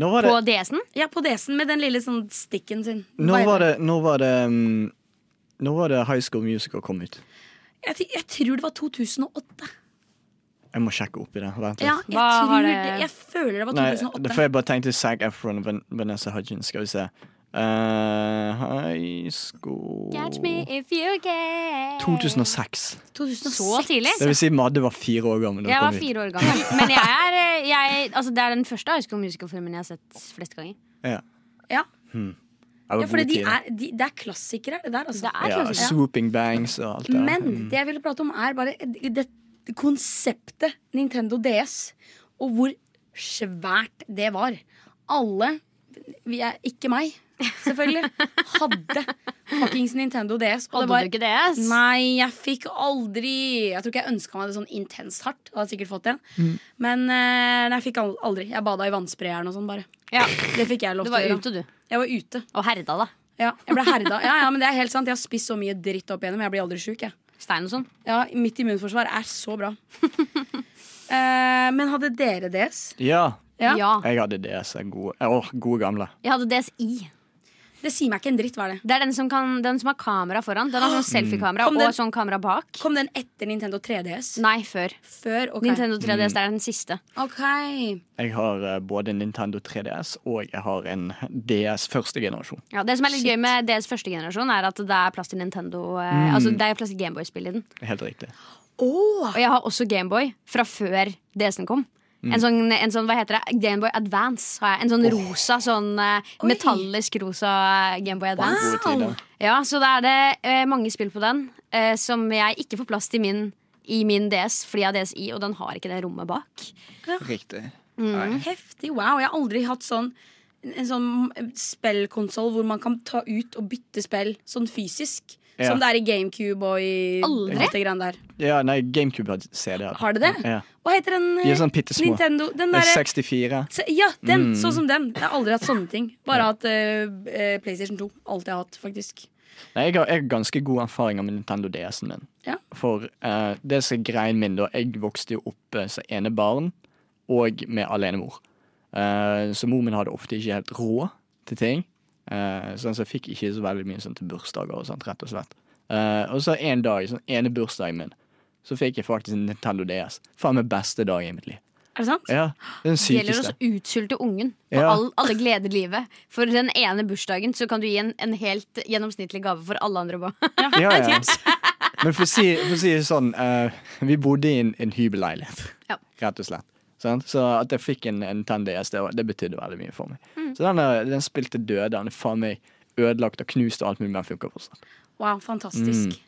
Speaker 6: Nå var det
Speaker 7: På DS-en?
Speaker 5: Ja, på DS-en med den lille sånn stikken sin.
Speaker 6: Nå
Speaker 5: Hva
Speaker 6: var
Speaker 5: heter
Speaker 6: det, nå var det mm, Nå var det High School Musical kom ut.
Speaker 5: Jeg, t- jeg tror det var 2008.
Speaker 6: Jeg må sjekke oppi det. Vent litt.
Speaker 5: Ja, jeg
Speaker 7: Hva har
Speaker 5: tror det...
Speaker 7: det-
Speaker 5: Jeg føler det var
Speaker 6: Nei,
Speaker 5: 2008.
Speaker 6: det- for jeg bare tenkte Zac Efron og Van- Vanessa Hudgens. Skal vi se. Eh, high School
Speaker 7: Catch me if you can.
Speaker 6: 2006.
Speaker 5: 2006.
Speaker 7: Så tidlig?
Speaker 6: Det vil si Madde var fire år gammel da
Speaker 7: Jeg
Speaker 6: den
Speaker 7: var
Speaker 6: kom ut.
Speaker 7: fire år gammel. Men jeg er, eh, jeg, altså det er den første High School Musical-filmen jeg har sett flest ganger.
Speaker 6: Ja.
Speaker 5: Ja,
Speaker 6: Det var
Speaker 5: ja for
Speaker 6: gode
Speaker 5: de
Speaker 6: tider.
Speaker 5: er, de, det er klassikere, det der. Altså.
Speaker 7: Det er
Speaker 6: ja,
Speaker 7: klassisk.
Speaker 6: Swooping Bangs og alt det der.
Speaker 7: Mm.
Speaker 5: Men det jeg ville prate om, er bare det, det konseptet Nintendo DS. Og hvor svært det var. Alle, vi er, ikke meg
Speaker 7: [laughs]
Speaker 5: selvfølgelig, hadde fuckings Nintendo DS. Og det
Speaker 7: Hadde
Speaker 5: var
Speaker 7: du ikke DS?
Speaker 5: Nei, jeg fikk aldri Jeg tror ikke jeg ønska meg det sånn intenst hardt. Jeg hadde sikkert fått det.
Speaker 7: Mm.
Speaker 5: Men eh, nei, jeg fikk al- aldri. Jeg bada i vannsprederen og sånn, bare.
Speaker 7: Ja.
Speaker 5: Det fikk jeg lov
Speaker 7: Du
Speaker 5: til å
Speaker 7: var
Speaker 5: gjøre.
Speaker 7: ute, du.
Speaker 5: Jeg var ute.
Speaker 7: Og herda, da.
Speaker 5: Ja, jeg ble herda. Ja, ja, men det er helt sant. Jeg har spist så mye dritt opp igjennom. Jeg blir aldri sjuk, jeg.
Speaker 7: Stein og sånn.
Speaker 5: Ja, mitt immunforsvar er så bra. [laughs] Eh, men hadde dere DS?
Speaker 6: Ja,
Speaker 5: Ja.
Speaker 7: Ja.
Speaker 6: jeg hadde DS. jeg er Gode, åh, gode gamle.
Speaker 7: Jeg hadde DSI.
Speaker 5: Det sier meg ikke en dritt, hva er det?
Speaker 7: Det er den som, kan, den som har kamera foran. Den har
Speaker 5: [gasps]
Speaker 7: sånn selfie-kamera
Speaker 5: Mm. Kom den-
Speaker 7: og sånn kamera bak.
Speaker 5: Kom den etter Nintendo 3DS?
Speaker 7: Nei, før.
Speaker 5: Før? Mm. Ok.
Speaker 7: Nintendo 3DS det er den siste.
Speaker 5: Ok.
Speaker 6: Jeg har eh, både Nintendo 3DS og jeg har en DS første generasjon.
Speaker 7: Ja, det som er litt gøy med DS første generasjon, er at det er plass til Nintendo eh,
Speaker 5: Mm.
Speaker 7: Altså det er plass til Gameboy-spill i den.
Speaker 6: Helt riktig.
Speaker 5: Åh,
Speaker 7: Og jeg har også Gameboy fra før DS-en kom.
Speaker 5: Mm.
Speaker 7: En, sånn, en sånn, hva heter det, Gameboy Advance har jeg. En sånn rosa, sånn eh, metallisk rosa eh, Gameboy Advance.
Speaker 6: Gode tider.
Speaker 7: Ja, så da er det eh, mange spill på den eh, som jeg ikke får plass til min, i min DS, fordi jeg har DSI, og den har ikke det rommet bak.
Speaker 6: Riktig.
Speaker 5: heftig. Wow. Jeg har aldri hatt sånn en sånn spillkonsoll hvor man kan ta ut og bytte spill sånn fysisk.
Speaker 6: Ja.
Speaker 5: Som det er i GameCube og i
Speaker 7: Aldri?
Speaker 5: alt det greiene der.
Speaker 6: Ja, nei, GameCube hadde CD. hadde.
Speaker 5: Har det det?
Speaker 6: Ja.
Speaker 5: Hva heter den?
Speaker 6: De
Speaker 5: eh,
Speaker 6: er sånn pittesmå.
Speaker 5: Nintendo, den
Speaker 6: Det er Mm.
Speaker 5: derre
Speaker 6: 64.
Speaker 5: Se- Ja, den, sånn som den. Jeg har aldri hatt sånne ting. Bare hatt eh, eh, PlayStation 2. Alt jeg har hatt, faktisk.
Speaker 6: Nei, jeg har, jeg har ganske gode erfaringer med Nintendo DS-en min.
Speaker 5: Ja.
Speaker 6: For eh, det som er greien min, da Jeg vokste jo opp eh, som enebarn og med alenemor. Eh, så mor min hadde ofte ikke helt råd til ting. Eh, sånn, så jeg fikk ikke så veldig mye sånn til bursdager og sånt, rett og slett. Eh, og så en dag, sånn ene bursdagen min, så fikk jeg faktisk en Nintendo DS. Faen meg beste dag i mitt liv.
Speaker 5: Er det sant?
Speaker 6: Ja, Den
Speaker 7: Det gjelder også
Speaker 6: sykeste.
Speaker 7: å utsulte ungen på
Speaker 6: Ja.
Speaker 7: all, alle gleder i livet. For den ene bursdagen så kan du gi en, en helt gjennomsnittlig gave for alle andre barn. [laughs]
Speaker 6: Ja, [laughs] ja. Men for å si, for å si det sånn, eh, vi bodde i en, en hybelleilighet,
Speaker 7: Ja.
Speaker 6: rett og slett. Sant? Så at jeg fikk en, en 10DS, det, var- det betydde veldig mye for meg. Så den, er- den spilte døde. Den er faen meg ødelagt og knust og alt mulig, men den funker fortsatt.
Speaker 5: Wow, fantastisk.
Speaker 6: Mm.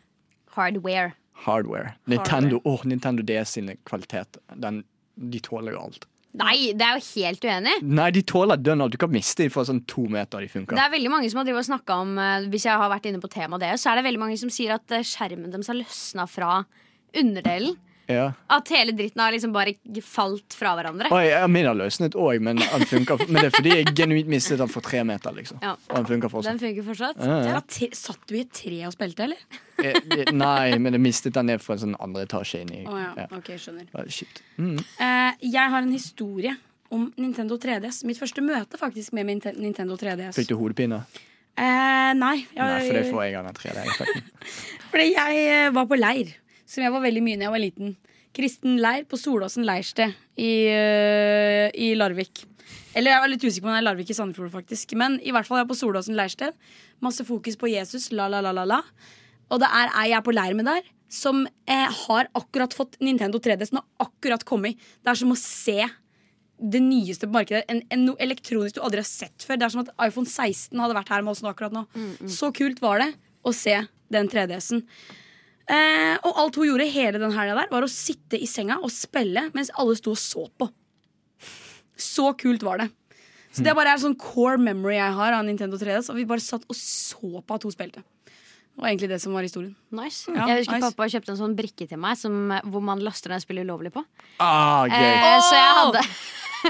Speaker 7: Hardware.
Speaker 6: Hardware. Nintendo, åh, Nintendo DS sine kvaliteter. Den, de tåler jo alt.
Speaker 7: Nei, det er jo helt uenig.
Speaker 6: Nei, de tåler dønn alt. Du kan miste dem fra sånn to meter de funker.
Speaker 7: Det er veldig mange som har drivet og snakket om eh, Hvis jeg har vært inne på temaet deres, så er det veldig mange som sier at eh, skjermen deres har løsna fra underdelen.
Speaker 6: Ja.
Speaker 7: At hele dritten har liksom bare falt fra hverandre.
Speaker 6: Oi, ja, min har løsnet òg, men, den funker- men det er fordi jeg genuint mistet den for tre meter. liksom
Speaker 7: Ja.
Speaker 6: Og den funker fortsatt.
Speaker 7: Den funker fortsatt.
Speaker 5: Ja, te- Satt du i et tre og spilte, eller?
Speaker 6: Eh, eh, Nei, men jeg mistet den ned fra en sånn andre etasje inn i
Speaker 5: Å ja.
Speaker 6: ja.
Speaker 5: Ok, skjønner.
Speaker 6: Ah, Shit. Mm.
Speaker 5: Eh, jeg har en historie om Nintendo 3DS. Mitt første møte faktisk med min te- Nintendo 3DS.
Speaker 6: Fikk du hodepine?
Speaker 5: Eh, nei, jeg,
Speaker 6: Nei, for det får jeg av den 3D-effekten.
Speaker 5: fordi jeg eh, var på leir, som jeg var veldig mye da jeg var liten. Kristen leir på Solåsen leirsted i, eh, i Larvik. Eller jeg var litt usikker på om det er Larvik i Sandefjord, faktisk. Men i hvert fall jeg er på Solåsen leirsted. Masse fokus på Jesus, la, la, la, la, la. Og det er ei jeg er på leir med der, som eh, har akkurat fått Nintendo 3DS. Den har akkurat kommet. Det er som å se det nyeste på markedet. En, en noe elektronisk du aldri har sett før. Det er som at iPhone 16 hadde vært her med oss nå akkurat nå. Så kult var det å se den 3DS-en. Eh, og alt hun gjorde hele den helga der, var å sitte i senga og spille mens alle sto og så på. Så kult var det. Så det bare er en sånn core memory jeg har av Nintendo 3DS. At vi bare satt og så på at hun spilte. Det var egentlig det som var historien.
Speaker 7: Nice.
Speaker 5: Ja,
Speaker 7: jeg husker
Speaker 5: nice.
Speaker 7: pappa kjøpte en sånn brikke til meg som, eh, hvor man laster ned spill ulovlig på.
Speaker 6: Ah, gøy.
Speaker 7: Eh, Så jeg hadde [laughs]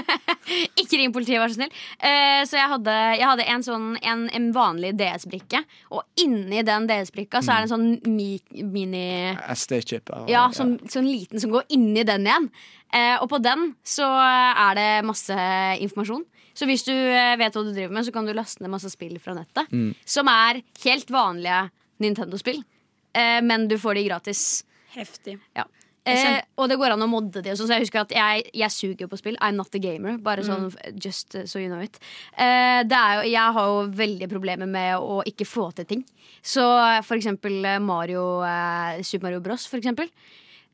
Speaker 7: Ikke ring politiet, vær så snill. Eh, så jeg hadde, jeg hadde en, sånn, en, en vanlig DS-brikke, og inni den DS-brikka så er det en sånn mi, mini
Speaker 6: SD-chip. ah,
Speaker 7: Ja, sånn, sånn liten som går inni den igjen. Eh, og på den så er det masse informasjon. Så hvis du eh, vet hva du driver med, så kan du laste ned masse spill fra nettet. Som er helt vanlige Nintendo-spill, eh, men du får de gratis.
Speaker 5: Heftig.
Speaker 7: Ja.
Speaker 5: kjenner-
Speaker 7: Eh, og det går an å modde de også, så jeg husker at jeg, jeg suger jo på spill. I'm not a gamer. Bare sånn f- just uh, so you know it. Eh, det er jo, jeg har jo veldig problemer med å ikke få til ting. Så eh, for eksempel eh, Mario, eh, Super Mario Bros, for eksempel.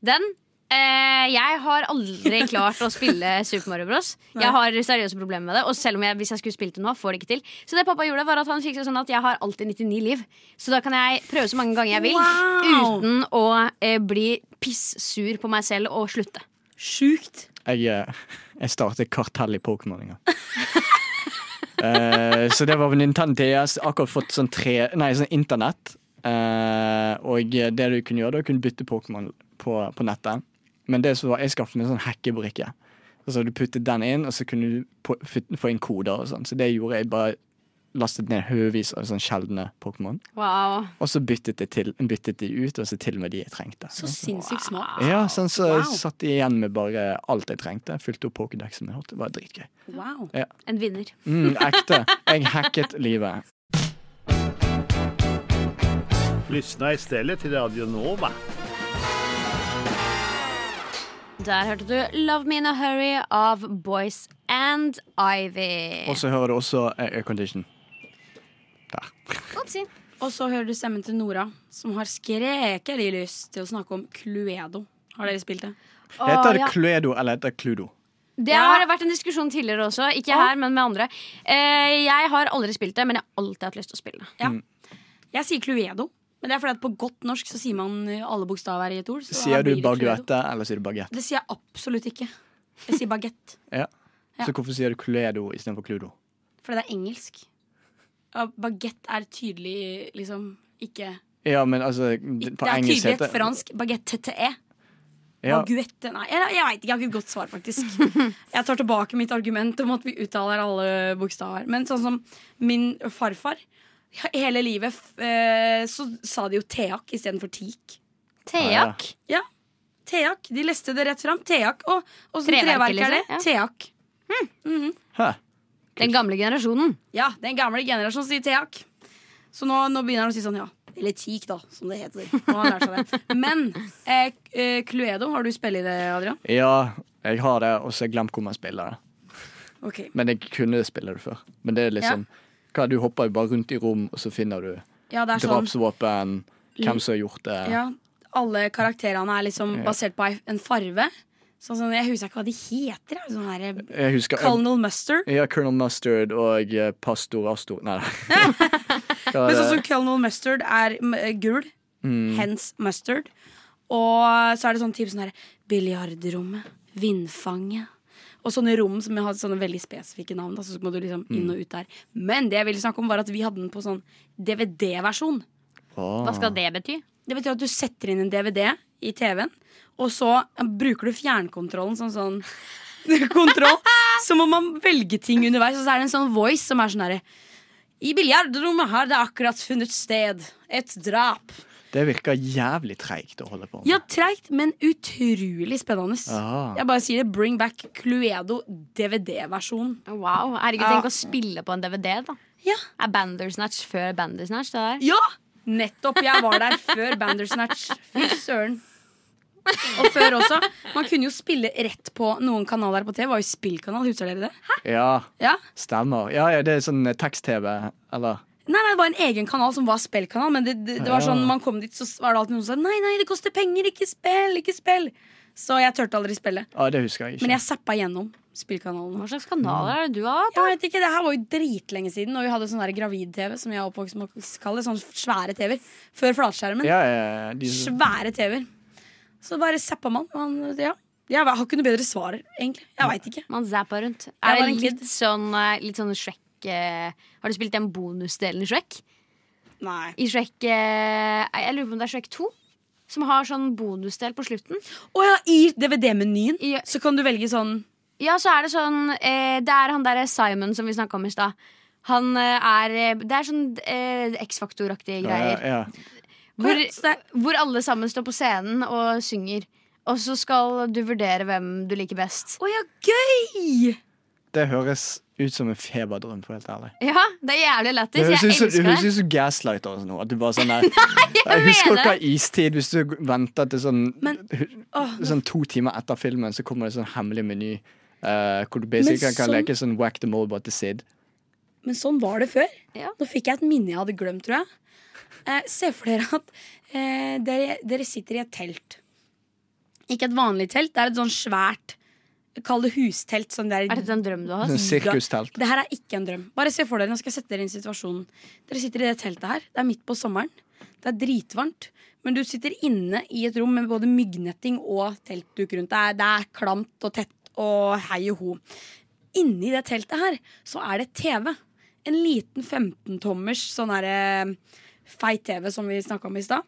Speaker 7: Den eh, Jeg har aldri klart å
Speaker 5: [laughs]
Speaker 7: spille Super Mario Bros. Jeg har seriøse problemer med det. Og selv om jeg, hvis jeg skulle spilt det nå, får det ikke til. Så det pappa gjorde, var at han fiksa sånn at jeg har alltid 99 liv. Så da kan jeg prøve så mange ganger jeg vil
Speaker 5: Wow!
Speaker 7: uten å eh, bli pissur på meg selv og slutte.
Speaker 5: Sjukt.
Speaker 6: Jeg, eh, jeg startet kartell i Pokémon en gang. Eh, så det var på Nintendo DS. Akkurat fått sånn tre Nei, sånn internett. Eh, og det du kunne gjøre, da kunne du bytte Pokémon på, på nettet. Men det som var, jeg skaffet meg en sånn hackebrikke. Så du puttet den inn, og så kunne du på, fyt- få inn koder og sånn. Så det gjorde jeg bare lastet ned høvevis av sånn sjeldne Pokémon.
Speaker 7: Wow.
Speaker 6: Og så byttet jeg til, byttet de ut, og så til og med de jeg trengte.
Speaker 5: Så sinnssykt smart.
Speaker 6: Ja, sånn så
Speaker 5: Ah, Wow.
Speaker 6: satt jeg igjen med bare alt jeg trengte. Fylte opp Pokédexen min. Det var dritgøy.
Speaker 5: Wow.
Speaker 7: En vinner.
Speaker 6: [laughs] Mm, ekte. Jeg hacket livet.
Speaker 2: Lyssna istället till Radio Nova.
Speaker 7: Der hørte du 'Love Me In A Hurry' av Boys and Ivy.
Speaker 6: Og så hører du også eh, aircondition. Der.
Speaker 7: Oppsi.
Speaker 5: Og så hører du stemmen til Nora, som har skrekelig lyst til å snakke om Cluedo. Har dere spilt det?
Speaker 6: Heter det
Speaker 7: ja.
Speaker 6: Cluedo eller heter det Cludo?
Speaker 7: Det
Speaker 5: Ja.
Speaker 7: har vært en diskusjon tidligere også. Ikke her, men med andre. Eh, jeg har aldri spilt det, men jeg har alltid hatt lyst til å spille det.
Speaker 5: Jeg sier Cluedo, men det er fordi at på godt norsk så sier man eh, alle bokstaver i et ord. Så da
Speaker 6: Sier du
Speaker 5: blir det Cluedo.
Speaker 6: baguette eller sier du baguette?
Speaker 5: Det sier jeg absolutt ikke. Jeg sier bagett,
Speaker 6: Ja.
Speaker 5: Ja.
Speaker 6: Så hvorfor sier du Cluedo istedenfor Cludo?
Speaker 5: fordi det er engelsk. Ja, Bagett er tydelig liksom ikke
Speaker 6: Ja, men altså
Speaker 5: Det
Speaker 6: d- På
Speaker 5: er
Speaker 6: engelsk
Speaker 5: tydelig et
Speaker 6: heter
Speaker 5: fransk baguette-e.
Speaker 6: ja.
Speaker 5: Baguette, nei, jeg, jeg vet ikke, jeg har ikke et godt svar faktisk
Speaker 7: [laughs]
Speaker 5: Jeg tar tilbake mitt argument om at vi uttaler alle bokstaver Men sånn som min farfar he- Hele livet f- eh, så sa de jo teak i stedet for teak
Speaker 7: Teak.
Speaker 5: Ja, teak, de leste det rett frem Teak, og, og sånn
Speaker 7: Treverket,
Speaker 5: treverk er det
Speaker 7: liksom, ja.
Speaker 5: Teak
Speaker 6: Hæ.
Speaker 7: Den gamle generasjonen.
Speaker 5: Ja, den gamle generasjonen sier teak Så nå, nå begynner han å si sånn, ja Eller teak, da, som det heter. Nå har han lært seg det. Men eh, eh, Cluedo, har du spilt i det, Adrian?
Speaker 6: Ja, jeg har det, og så har jeg glemt hvor man spiller det.
Speaker 5: Ok.
Speaker 6: Men jeg kunne spille det før. Men det er liksom hva, Du hopper jo bare rundt i rom, og så finner du
Speaker 5: Ja, det er sånn.
Speaker 6: drapsvåpen, hvem som har gjort det.
Speaker 5: Ja, alle karakterene er liksom basert på ei- en farve. Sånn som, Jeg husker ikke hva de heter. jeg. Sånn her, eh,
Speaker 6: Jeg husker
Speaker 5: Colonel Mustard.
Speaker 6: Ja, Colonel Mustard og eh, pastor
Speaker 5: [laughs]
Speaker 6: Astor Nei, nei. Hva
Speaker 5: Men
Speaker 6: er
Speaker 5: sånn
Speaker 6: det?
Speaker 5: som Colonel Mustard er m- eh, gul, hens mustard. Og så er det sånn typ sånn her biljardrommet, vindfanget. Og sånne rom som har sånne veldig spesifikke navn. Da, så må du liksom inn og ut der Men det jeg ville snakke om var at vi hadde den på sånn DVD-versjon.
Speaker 7: Hva skal det bety?
Speaker 5: Det betyr at du setter inn en DVD i TV-en, og så eh, bruker du fjernkontrollen som sånn [laughs] kontroll. Så må man velge ting underveis, og så er det en sånn voice som er sånn herre I biljardrommet har det akkurat funnet sted. Et drap.
Speaker 6: det virker jævlig treigt å holde på med.
Speaker 5: Ja, treigt, men utrolig spennende.
Speaker 6: Ah.
Speaker 5: Jeg bare sier det. Bring back Cluedo DVD-versjon.
Speaker 7: Wow, Herregud,
Speaker 5: Ja.
Speaker 7: tenk å spille på en DVD, da.
Speaker 5: Ja.
Speaker 7: Er Bandersnatch før Bandersnatch? Det der?
Speaker 5: ja! Nettopp. Jeg var der før Bandersnatch. Fy søren. Og før også. Man kunne jo spille rett på noen kanaler på TV. Var jo spillkanal, husker dere det?
Speaker 6: Ja,
Speaker 5: Ja.
Speaker 6: stemmer. Ja, ja, det er sånn eh, tekst-TV, eller?
Speaker 5: Nei, nei, det var en egen kanal som var spillkanal. Men det, det, det var
Speaker 6: Ja.
Speaker 5: sånn, man kom dit, så var det alltid noen som sa nei, nei, det koster penger, ikke spill, ikke spill. Så jeg turte aldri spille.
Speaker 6: Ja, det husker jeg ikke.
Speaker 5: Men jeg zappa gjennom spillkanalen.
Speaker 7: Hva slags kanaler er det du har?
Speaker 5: Jeg vet ikke, Det her var jo dritlenge siden, og vi hadde sånn der gravid-TV. Som jeg er oppvokst med å kalle det. Sånne svære TV-er. Før flatskjermen.
Speaker 6: Ja, ja, de,
Speaker 5: Svære TV-er. Så bare zappa man. man ja. Jeg har ikke noe bedre svar, egentlig. Jeg veit ikke.
Speaker 7: Man zapper rundt.
Speaker 5: Jeg
Speaker 7: Er
Speaker 5: var
Speaker 7: det
Speaker 5: en
Speaker 7: litt
Speaker 5: kid.
Speaker 7: sånn, eh, litt sånn Shrek eh, Har du spilt den bonusdelen i Shrek?
Speaker 5: Nei.
Speaker 7: I Shrek eh, Jeg lurer på om det er Shrek 2? Som har sånn bonusdel på slutten.
Speaker 5: Å ja, i DVD-menyen
Speaker 7: Ja.
Speaker 5: så kan du velge sånn
Speaker 7: Ja, så er det sånn eh, Det er han derre Simon som vi snakka om i stad. Han eh, er eh, Det er sånn eh, X-faktor-aktige greier.
Speaker 6: ja,
Speaker 7: Hvor,
Speaker 5: Så det er-
Speaker 7: hvor alle sammen står på scenen og synger. Og så skal du vurdere hvem du liker best.
Speaker 5: Å ja, gøy!
Speaker 6: Det høres ut som en feberdrøm, for å være helt ærlig.
Speaker 7: Ja, Det er jævlig
Speaker 6: Det
Speaker 7: lættis.
Speaker 6: høres
Speaker 7: Jeg
Speaker 6: ut som- det
Speaker 7: elsker
Speaker 6: høres
Speaker 7: det.
Speaker 6: ut som gaslighter og sånn. nå, At du bare
Speaker 5: [laughs]
Speaker 6: sånn der, jeg husker
Speaker 7: mener
Speaker 6: dere istid, hvis du venter til sånn,
Speaker 5: Men- Åh,
Speaker 6: sånn to timer etter filmen, så kommer det sånn hemmelig meny. eh, hvor du basically
Speaker 5: Men
Speaker 6: kan, kan
Speaker 5: sånn-
Speaker 6: leke sånn whack the mole bare til Sid.
Speaker 5: Men sånn var det før.
Speaker 7: Ja.
Speaker 5: Nå fikk jeg et minne jeg hadde glemt, tror jeg. Eh, se for dere at eh, dere, dere sitter i et telt. Ikke et vanlig telt, det er et sånn svært Kall det hustelt. Sånn der,
Speaker 7: Er dette en drøm du har?
Speaker 6: Sånn sirkustelt.
Speaker 5: Det her er ikke en drøm. Bare se for dere, nå skal jeg sette dere inn i situasjonen. Dere sitter i det teltet her. Det er midt på sommeren. Det er dritvarmt. Men du sitter inne i et rom med både myggnetting og teltduk rundt. Det er, det er klamt og tett og hei og ho. Inni det teltet her så er det TV. En liten 15-tommers sånn her eh, feit TV som vi snakka om i stad.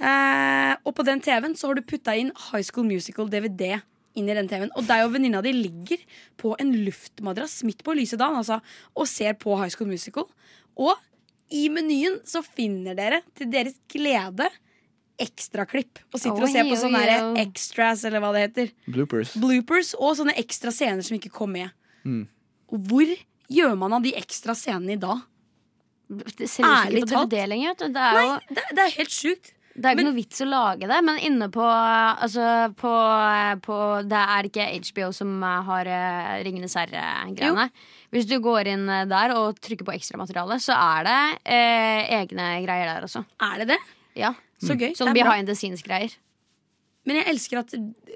Speaker 5: Eh, og på den TV-en så har du putta inn High School Musical DVD. Inn i den TV-en Og deg og venninna di ligger på en luftmadrass midt på lyse dagen altså, og ser på High School Musical. Og i menyen så finner dere til deres glede ekstraklipp. Og sitter og ser på
Speaker 7: Oi,
Speaker 5: sånne
Speaker 7: oi,
Speaker 5: her
Speaker 7: oi.
Speaker 5: extras, eller hva det heter.
Speaker 6: Bloopers.
Speaker 5: Bloopers og sånne ekstra scener som ikke kom med. Og Hvor gjør man av de ekstra scenene i dag?
Speaker 7: Det ser ut
Speaker 5: Ærlig
Speaker 7: ikke på
Speaker 5: talt.
Speaker 7: DVD lenger. vet du. Det er jo
Speaker 5: Det, det er helt sjukt.
Speaker 7: det er ikke
Speaker 5: men-
Speaker 7: noe vits å lage det, men inne på, altså, på, på Det er ikke HBO som eh, har uh, Ringenes herre-greiene. Hvis du går inn eh, der og trykker på ekstramateriale, så er det eh, egne greier der også.
Speaker 5: Er det det?
Speaker 7: Ja.
Speaker 5: Så gøy.
Speaker 7: Sånn
Speaker 5: det er bra.
Speaker 7: behind the scenes-greier.
Speaker 5: Men jeg elsker at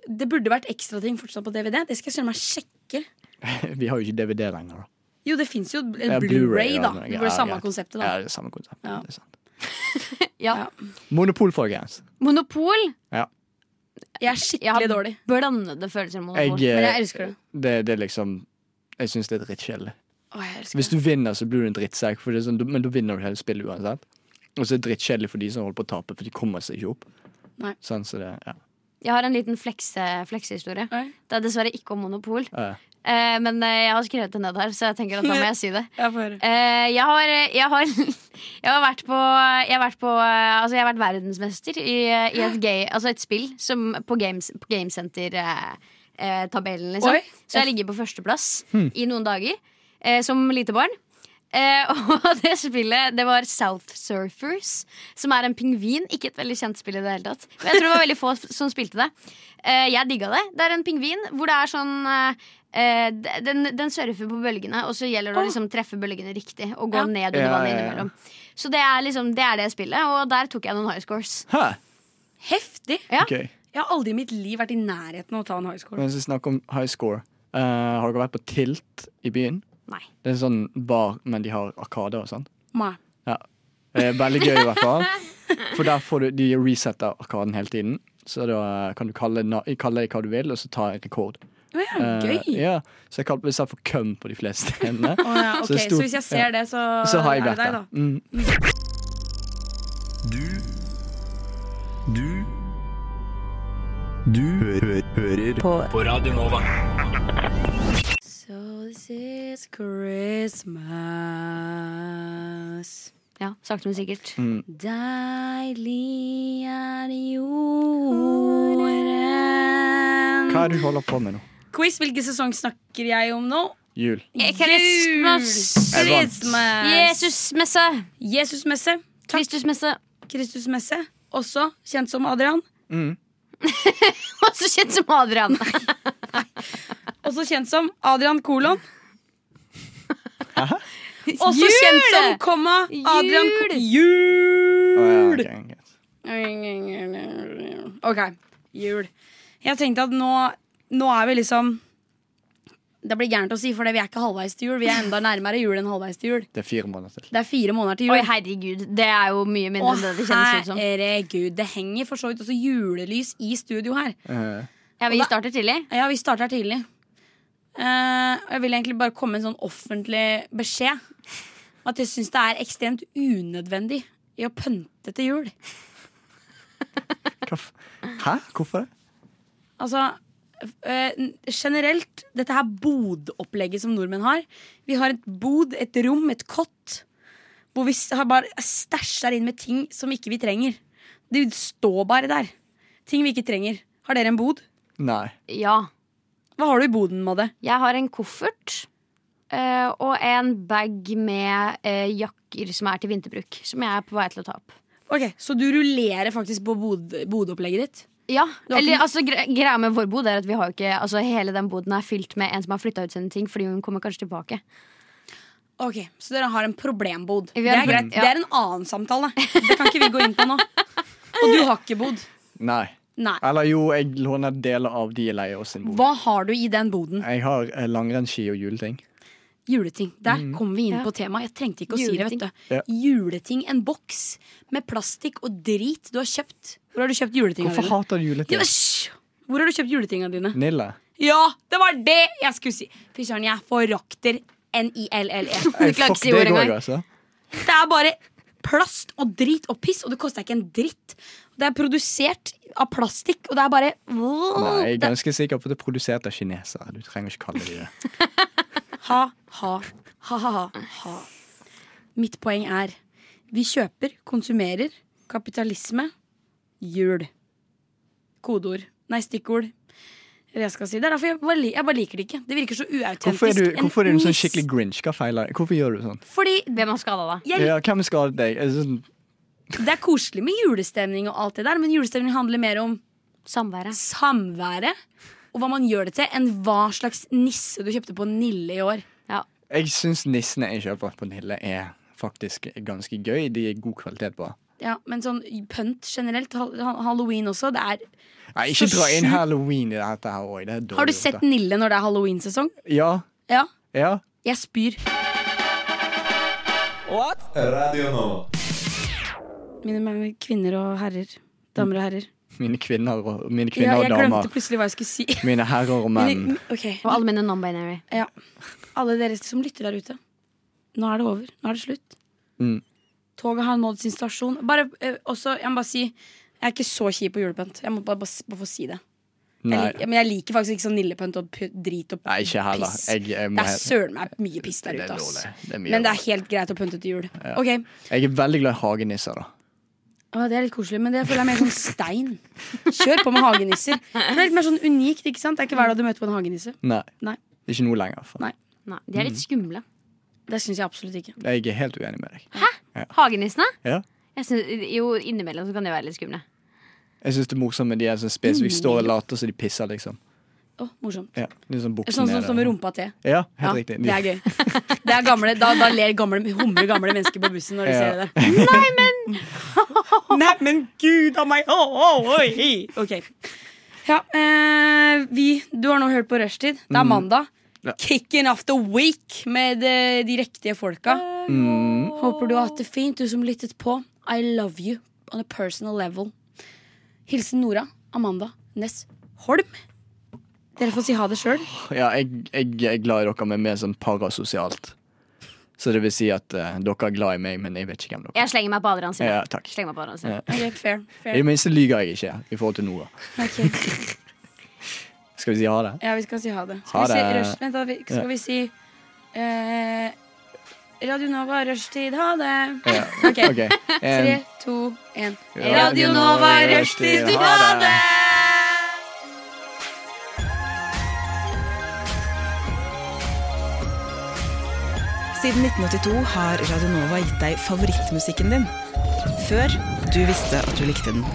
Speaker 5: det burde vært ekstra ting fortsatt på DVD. Det skal jeg søren meg sjekke.
Speaker 6: [laughs] Vi har jo ikke DVD lenger, da.
Speaker 5: Jo, det fins jo
Speaker 6: Ja,
Speaker 5: eh, Blu-ray, da.
Speaker 6: men-
Speaker 5: Det var det samme
Speaker 6: greit.
Speaker 5: konseptet,
Speaker 6: Ja,
Speaker 5: da.
Speaker 6: det er samme konsept.
Speaker 5: Ja.
Speaker 6: Det er sant.
Speaker 5: Ja.
Speaker 7: Ja.
Speaker 6: Monopol, folkens.
Speaker 7: Monopol.
Speaker 5: Jeg er
Speaker 7: Jeg har
Speaker 5: skikkelig dårlig.
Speaker 7: blandede følelser om monopol.
Speaker 6: Jeg, eh,
Speaker 5: Men jeg elsker det.
Speaker 6: det, det er liksom Jeg syns det er drittkjedelig.
Speaker 5: Å, jeg elsker
Speaker 6: Hvis
Speaker 5: det.
Speaker 6: du vinner, så blir du en drittsekk, for det er sånn, du- men da vinner du hele spillet uansett. Og så er det drittkjedelig for de som holder på å tape, for de kommer seg ikke opp.
Speaker 5: Nei.
Speaker 6: Sånn, så det, ja.
Speaker 7: Jeg har en liten flekse- fleksehistorie.
Speaker 5: Oi.
Speaker 7: Det er dessverre ikke om monopol.
Speaker 6: Eh,
Speaker 7: Eh, men eh, jeg har skrevet det ned her, så jeg tenker at da må jeg si
Speaker 5: [laughs]
Speaker 7: det.
Speaker 5: Jeg får høre.
Speaker 7: Eh, jeg har, jeg har, [laughs] jeg har vært på, jeg har vært, på eh, altså jeg har vært verdensmester i, eh, i et, gay, altså et spill som på, games, på Gamesenter-tabellen. liksom.
Speaker 5: Oi.
Speaker 6: Hmm.
Speaker 7: Så jeg ligger på førsteplass i noen dager eh, som eh, lite barn. Eh, [laughs] og det spillet det var South Surfers, som er en pingvin. Ikke et veldig kjent spill i det hele tatt. Men jeg tror det var veldig få som spilte det. Eh, jeg digga det. Det er en pingvin hvor det er sånn eh, d- den, den surfer på bølgene, og så gjelder det å liksom treffe bølgene riktig. Og gå
Speaker 5: Ja.
Speaker 7: ned under
Speaker 6: Ja,
Speaker 7: vannet
Speaker 6: ja, ja.
Speaker 7: innimellom. Så det er liksom det er det spillet, og der tok jeg noen high scores.
Speaker 6: Hæ?
Speaker 5: Heftig.
Speaker 7: Ja.
Speaker 6: Ok.
Speaker 5: Jeg har aldri i mitt liv vært i nærheten av å ta en high score.
Speaker 6: Mens vi snakker om high score, eh, har dere vært på Tilt i byen?
Speaker 7: Nei.
Speaker 6: Det er en sånn bar, men de har arkader og sånn.
Speaker 5: Nei.
Speaker 6: Ja. Det er veldig gøy, i hvert
Speaker 5: [laughs]
Speaker 6: fall. For der får du, de resetter arkaden hele tiden. Så da eh, kan du kalle, na- kalle det hva du vil, og så ta en rekord.
Speaker 5: Å ja,
Speaker 6: Eh,
Speaker 5: gøy.
Speaker 6: ja. Så jeg kalte meg for køm på de fleste stedene.
Speaker 5: Å ja, ok,
Speaker 6: Så det
Speaker 5: så,
Speaker 6: sto-
Speaker 5: hvis jeg
Speaker 6: ja.
Speaker 5: ser det, så,
Speaker 6: Så har jeg
Speaker 5: er det
Speaker 6: vært
Speaker 5: deg,
Speaker 6: der.
Speaker 5: da.
Speaker 6: Mm.
Speaker 9: Du Du Du hø hø hører på. Radio Nova.
Speaker 5: So this is Christmas.
Speaker 7: Ja, Sakte, men sikkert.
Speaker 6: Hmm.
Speaker 5: Deilig er jorden.
Speaker 6: Hva er det du holder på med nå?
Speaker 5: Quiz, hvilken sesong snakker jeg om nå?
Speaker 6: Jul.
Speaker 7: Christmas!
Speaker 6: Jeg vant.
Speaker 5: Christmas.
Speaker 7: Jesusmesse!
Speaker 5: Jesusmesse.
Speaker 7: Kristusmesse. [laughs]
Speaker 5: Kristusmesse. Også kjent som Adrian.
Speaker 7: Også kjent som Adrian.
Speaker 5: Også kjent som Adrian kolon. Også kjent som komma Adrian ko-
Speaker 6: Å,
Speaker 5: Jul!
Speaker 6: ja, ok, ok.
Speaker 5: Ok, jul. Jeg tenkte at nå, nå er vi liksom Det blir gærent å si, for det, vi er ikke halvveis til jul. Vi er enda nærmere jul enn halvveis til jul.
Speaker 6: Det er fire måneder til.
Speaker 5: Det er fire måneder til jul.
Speaker 7: Oi, herregud. Det er jo mye mindre
Speaker 5: Å,
Speaker 7: enn det det kjennes ut som.
Speaker 5: herregud. Det henger for så vidt også julelys i studio her.
Speaker 6: Eh,
Speaker 7: Ja, vi
Speaker 5: Og da-
Speaker 7: starter tidlig.
Speaker 5: Ja, vi starter her tidlig. Eh, og jeg vil egentlig bare komme med en sånn offentlig beskjed. At jeg syns det er ekstremt unødvendig i å pønte til jul.
Speaker 6: hva f- Hæ? Hvorfor det?
Speaker 5: Altså eh, generelt, dette her bodopplegget som nordmenn har. Vi har et bod, et rom, et kott. Hvor vi s- har bare stæsjer inn med ting som ikke vi trenger. Det står bare der. Ting vi ikke trenger. Har dere en bod?
Speaker 6: Nei.
Speaker 7: Ja.
Speaker 5: Hva har du i boden, Madde?
Speaker 7: Jeg har en koffert eh, og en bag med eh, jakker som er til vinterbruk. Som jeg er på vei til å ta opp.
Speaker 5: Ok, Så du rullerer faktisk på bod bodopplegget ditt?
Speaker 7: Ja,
Speaker 5: har
Speaker 7: eller
Speaker 5: ikke-
Speaker 7: altså gre Greia med vår bod er at vi har jo ikke Altså hele den boden er fylt med en som har flytta ut sine ting, fordi hun kommer kanskje tilbake.
Speaker 5: Ok, Så dere har en problembod.
Speaker 7: Vi
Speaker 5: det
Speaker 7: har
Speaker 5: er
Speaker 7: en
Speaker 5: greit.
Speaker 7: pro- ja.
Speaker 5: Det er en annen samtale. Det kan ikke vi gå inn på nå. Og du har ikke bod.
Speaker 6: Nei.
Speaker 5: Nei.
Speaker 6: Eller jo, jeg låner deler av de jeg leier oss sin bolig.
Speaker 5: Hva har du i den boden?
Speaker 6: Jeg har eh, langrennsski og juleting.
Speaker 5: Juleting. Der kommer vi inn
Speaker 7: Ja.
Speaker 5: på temaet. Jeg trengte ikke å si det.
Speaker 6: Ja.
Speaker 5: vet du Juleting. En boks med plastikk og drit du har kjøpt. Hvor har du kjøpt juletinga
Speaker 6: Hvorfor
Speaker 5: dine?
Speaker 6: hater du juleting?
Speaker 5: Ja, hysj! Hvor har du kjøpt juletinga dine?
Speaker 6: Nille.
Speaker 5: Ja, det var det jeg skulle si! Fy søren, jeg forakter NILLE.
Speaker 6: [laughs] Jeg,
Speaker 7: klarer ikke
Speaker 6: Eh, fuck
Speaker 7: si
Speaker 6: deg
Speaker 7: ordet
Speaker 6: òg,
Speaker 7: engang.
Speaker 6: altså.
Speaker 5: E. Det er bare plast og drit og piss, og det koster ikke en dritt. Det er produsert av plastikk, og det er bare
Speaker 6: Nei, jeg er
Speaker 5: det,
Speaker 6: ganske sikker på at det er produsert av kinesere. Du trenger ikke kalle det det.
Speaker 5: ha, ha, ha, ha, ha, ha. Mitt poeng er vi kjøper, konsumerer, kapitalisme, jul. Kodeord. Nei, stikkord. Eller Jeg skal si. Det er derfor jeg bare, li- jeg bare liker det ikke. Det virker så uautentisk.
Speaker 6: Hvorfor er du,
Speaker 5: En
Speaker 6: hvorfor er du en sånn
Speaker 5: nis-
Speaker 6: skikkelig grinch? Hva feiler Hvorfor gjør du sånn?
Speaker 5: Fordi
Speaker 7: Hvem har skada deg?
Speaker 5: jeg,
Speaker 6: Ja, hvem skadet deg? Er det Sånn,
Speaker 5: det er koselig med julestemning og alt det der, men julestemning handler mer om
Speaker 7: Samværet.
Speaker 5: samværet og hva man gjør det til, enn hva slags nisse du kjøpte på Nille i år.
Speaker 6: jeg syns nissene jeg kjøper på Nille, er faktisk ganske gøy. De er god kvalitet på.
Speaker 5: Ja, Men sånn pønt generelt, hal- ha- halloween også, det er
Speaker 6: Nei, ikke
Speaker 5: Så
Speaker 6: dra inn
Speaker 5: sjukt.
Speaker 6: halloween i dette her òg. Det er dårlig
Speaker 5: Har du
Speaker 6: gjort,
Speaker 5: sett
Speaker 6: da.
Speaker 5: Nille når det er halloweensesong?
Speaker 6: Ja.
Speaker 5: Ja.
Speaker 6: Ja.
Speaker 5: Jeg spyr.
Speaker 1: Radio Nova.
Speaker 5: Mine menn- kvinner og herrer. Damer og herrer.
Speaker 6: Mine kvinner og, mine
Speaker 5: Ja,
Speaker 6: kvinner
Speaker 5: jeg
Speaker 6: og
Speaker 5: glemte
Speaker 6: damer.
Speaker 5: plutselig hva jeg skulle si.
Speaker 6: [laughs] Mine herrer og menn.
Speaker 5: Mine- Ok,
Speaker 7: Og alle mine non-binary.
Speaker 5: ja. Alle dere som lytter der ute. Nå er det over. Nå er det slutt.
Speaker 6: Mm.
Speaker 5: Toget har nådd sin stasjon. Bare, eh, også, jeg må bare si Jeg er ikke så kjip på julepynt. Jeg må bare, bare, s- bare få si det. Jeg
Speaker 6: Nei.
Speaker 5: liker, men jeg liker faktisk ikke sånn nillepønt og p- drit og
Speaker 6: Nei, ikke heller.
Speaker 5: piss.
Speaker 6: Jeg, jeg,
Speaker 5: det
Speaker 6: må
Speaker 5: er
Speaker 6: helt-
Speaker 5: søren meg mye piss der
Speaker 6: Det er
Speaker 5: ute, ass.
Speaker 6: dårlig. Det er mye
Speaker 5: Men det er
Speaker 6: dårlig.
Speaker 5: helt greit å pynte til jul. Ok,
Speaker 6: Jeg er veldig glad i hagenisser, da.
Speaker 5: Å, Det er litt koselig, men det føler jeg er mer sånn stein. Kjør på med hagenisser. For Det er litt mer sånn unikt, ikke sant? Det er ikke hver dag du møter på en hagenisse.
Speaker 6: Nei.
Speaker 5: Nei.
Speaker 6: Ikke nå lenger. faen.
Speaker 5: Nei.
Speaker 7: Nei, de er litt skumle.
Speaker 5: Det syns jeg absolutt ikke.
Speaker 6: Jeg er helt uenig med deg.
Speaker 7: Hagenissene?
Speaker 6: Ja.
Speaker 7: Jeg synes, jo, innimellom så kan de være litt skumle.
Speaker 6: Jeg syns det er morsomt med de som spesifikt står
Speaker 5: Mm.
Speaker 6: og later som de pisser, liksom.
Speaker 5: Å, morsomt.
Speaker 6: Ja, litt sånn buksen
Speaker 5: Sånn som
Speaker 6: nede.
Speaker 5: står med rumpa til.
Speaker 6: Ja, helt
Speaker 5: Ja,
Speaker 6: riktig.
Speaker 5: det er gøy. [laughs] Det er gamle, da, da ler gamle, humrer gamle mennesker på bussen når de
Speaker 6: Ja.
Speaker 5: ser det. Nei, men [laughs] Nei, men gud a meg! Å, å, oi. Ok. Ja, eh, vi, du har nå hørt på rushtid. Det er mandag.
Speaker 6: Ja.
Speaker 5: Kicking off the week med eh, de, de riktige folka.
Speaker 6: Mm.
Speaker 5: Håper du har hatt det fint, du som lyttet på. I love you on a personal level. Hilsen Nora Amanda Næss Holm. Dere får si ha det sjøl.
Speaker 6: ja jeg, jeg, er glad i dere, men mer sånn parasosialt. Så det vil si at eh, dere er glad i meg, men jeg vet ikke hvem dere er.
Speaker 7: Jeg slenger meg på Adrian sin.
Speaker 6: Ja, takk.
Speaker 7: Slenger meg på Adrian sin.
Speaker 6: Ja.
Speaker 5: fair,
Speaker 6: I det
Speaker 5: fair.
Speaker 6: minste lyver jeg ikke i forhold til Nora.
Speaker 5: Ok.
Speaker 6: [laughs] Skal vi si ha det?
Speaker 5: Ja, vi skal si ha det. Skal
Speaker 6: Ha
Speaker 5: vi si
Speaker 6: det.
Speaker 5: rush, vent, da, vi- skal
Speaker 6: Ja.
Speaker 5: vi si eh, Radio Nova, rushtid, ha det.
Speaker 6: Ja.
Speaker 5: Ok.
Speaker 6: Ok.
Speaker 5: [laughs] Tre,
Speaker 6: En-
Speaker 5: to, én.
Speaker 6: Ja.
Speaker 5: Radio Nova, rushtid, ha det!
Speaker 10: Siden 1982 har Radio Nova gitt deg favorittmusikken din. Før du visste at du likte den.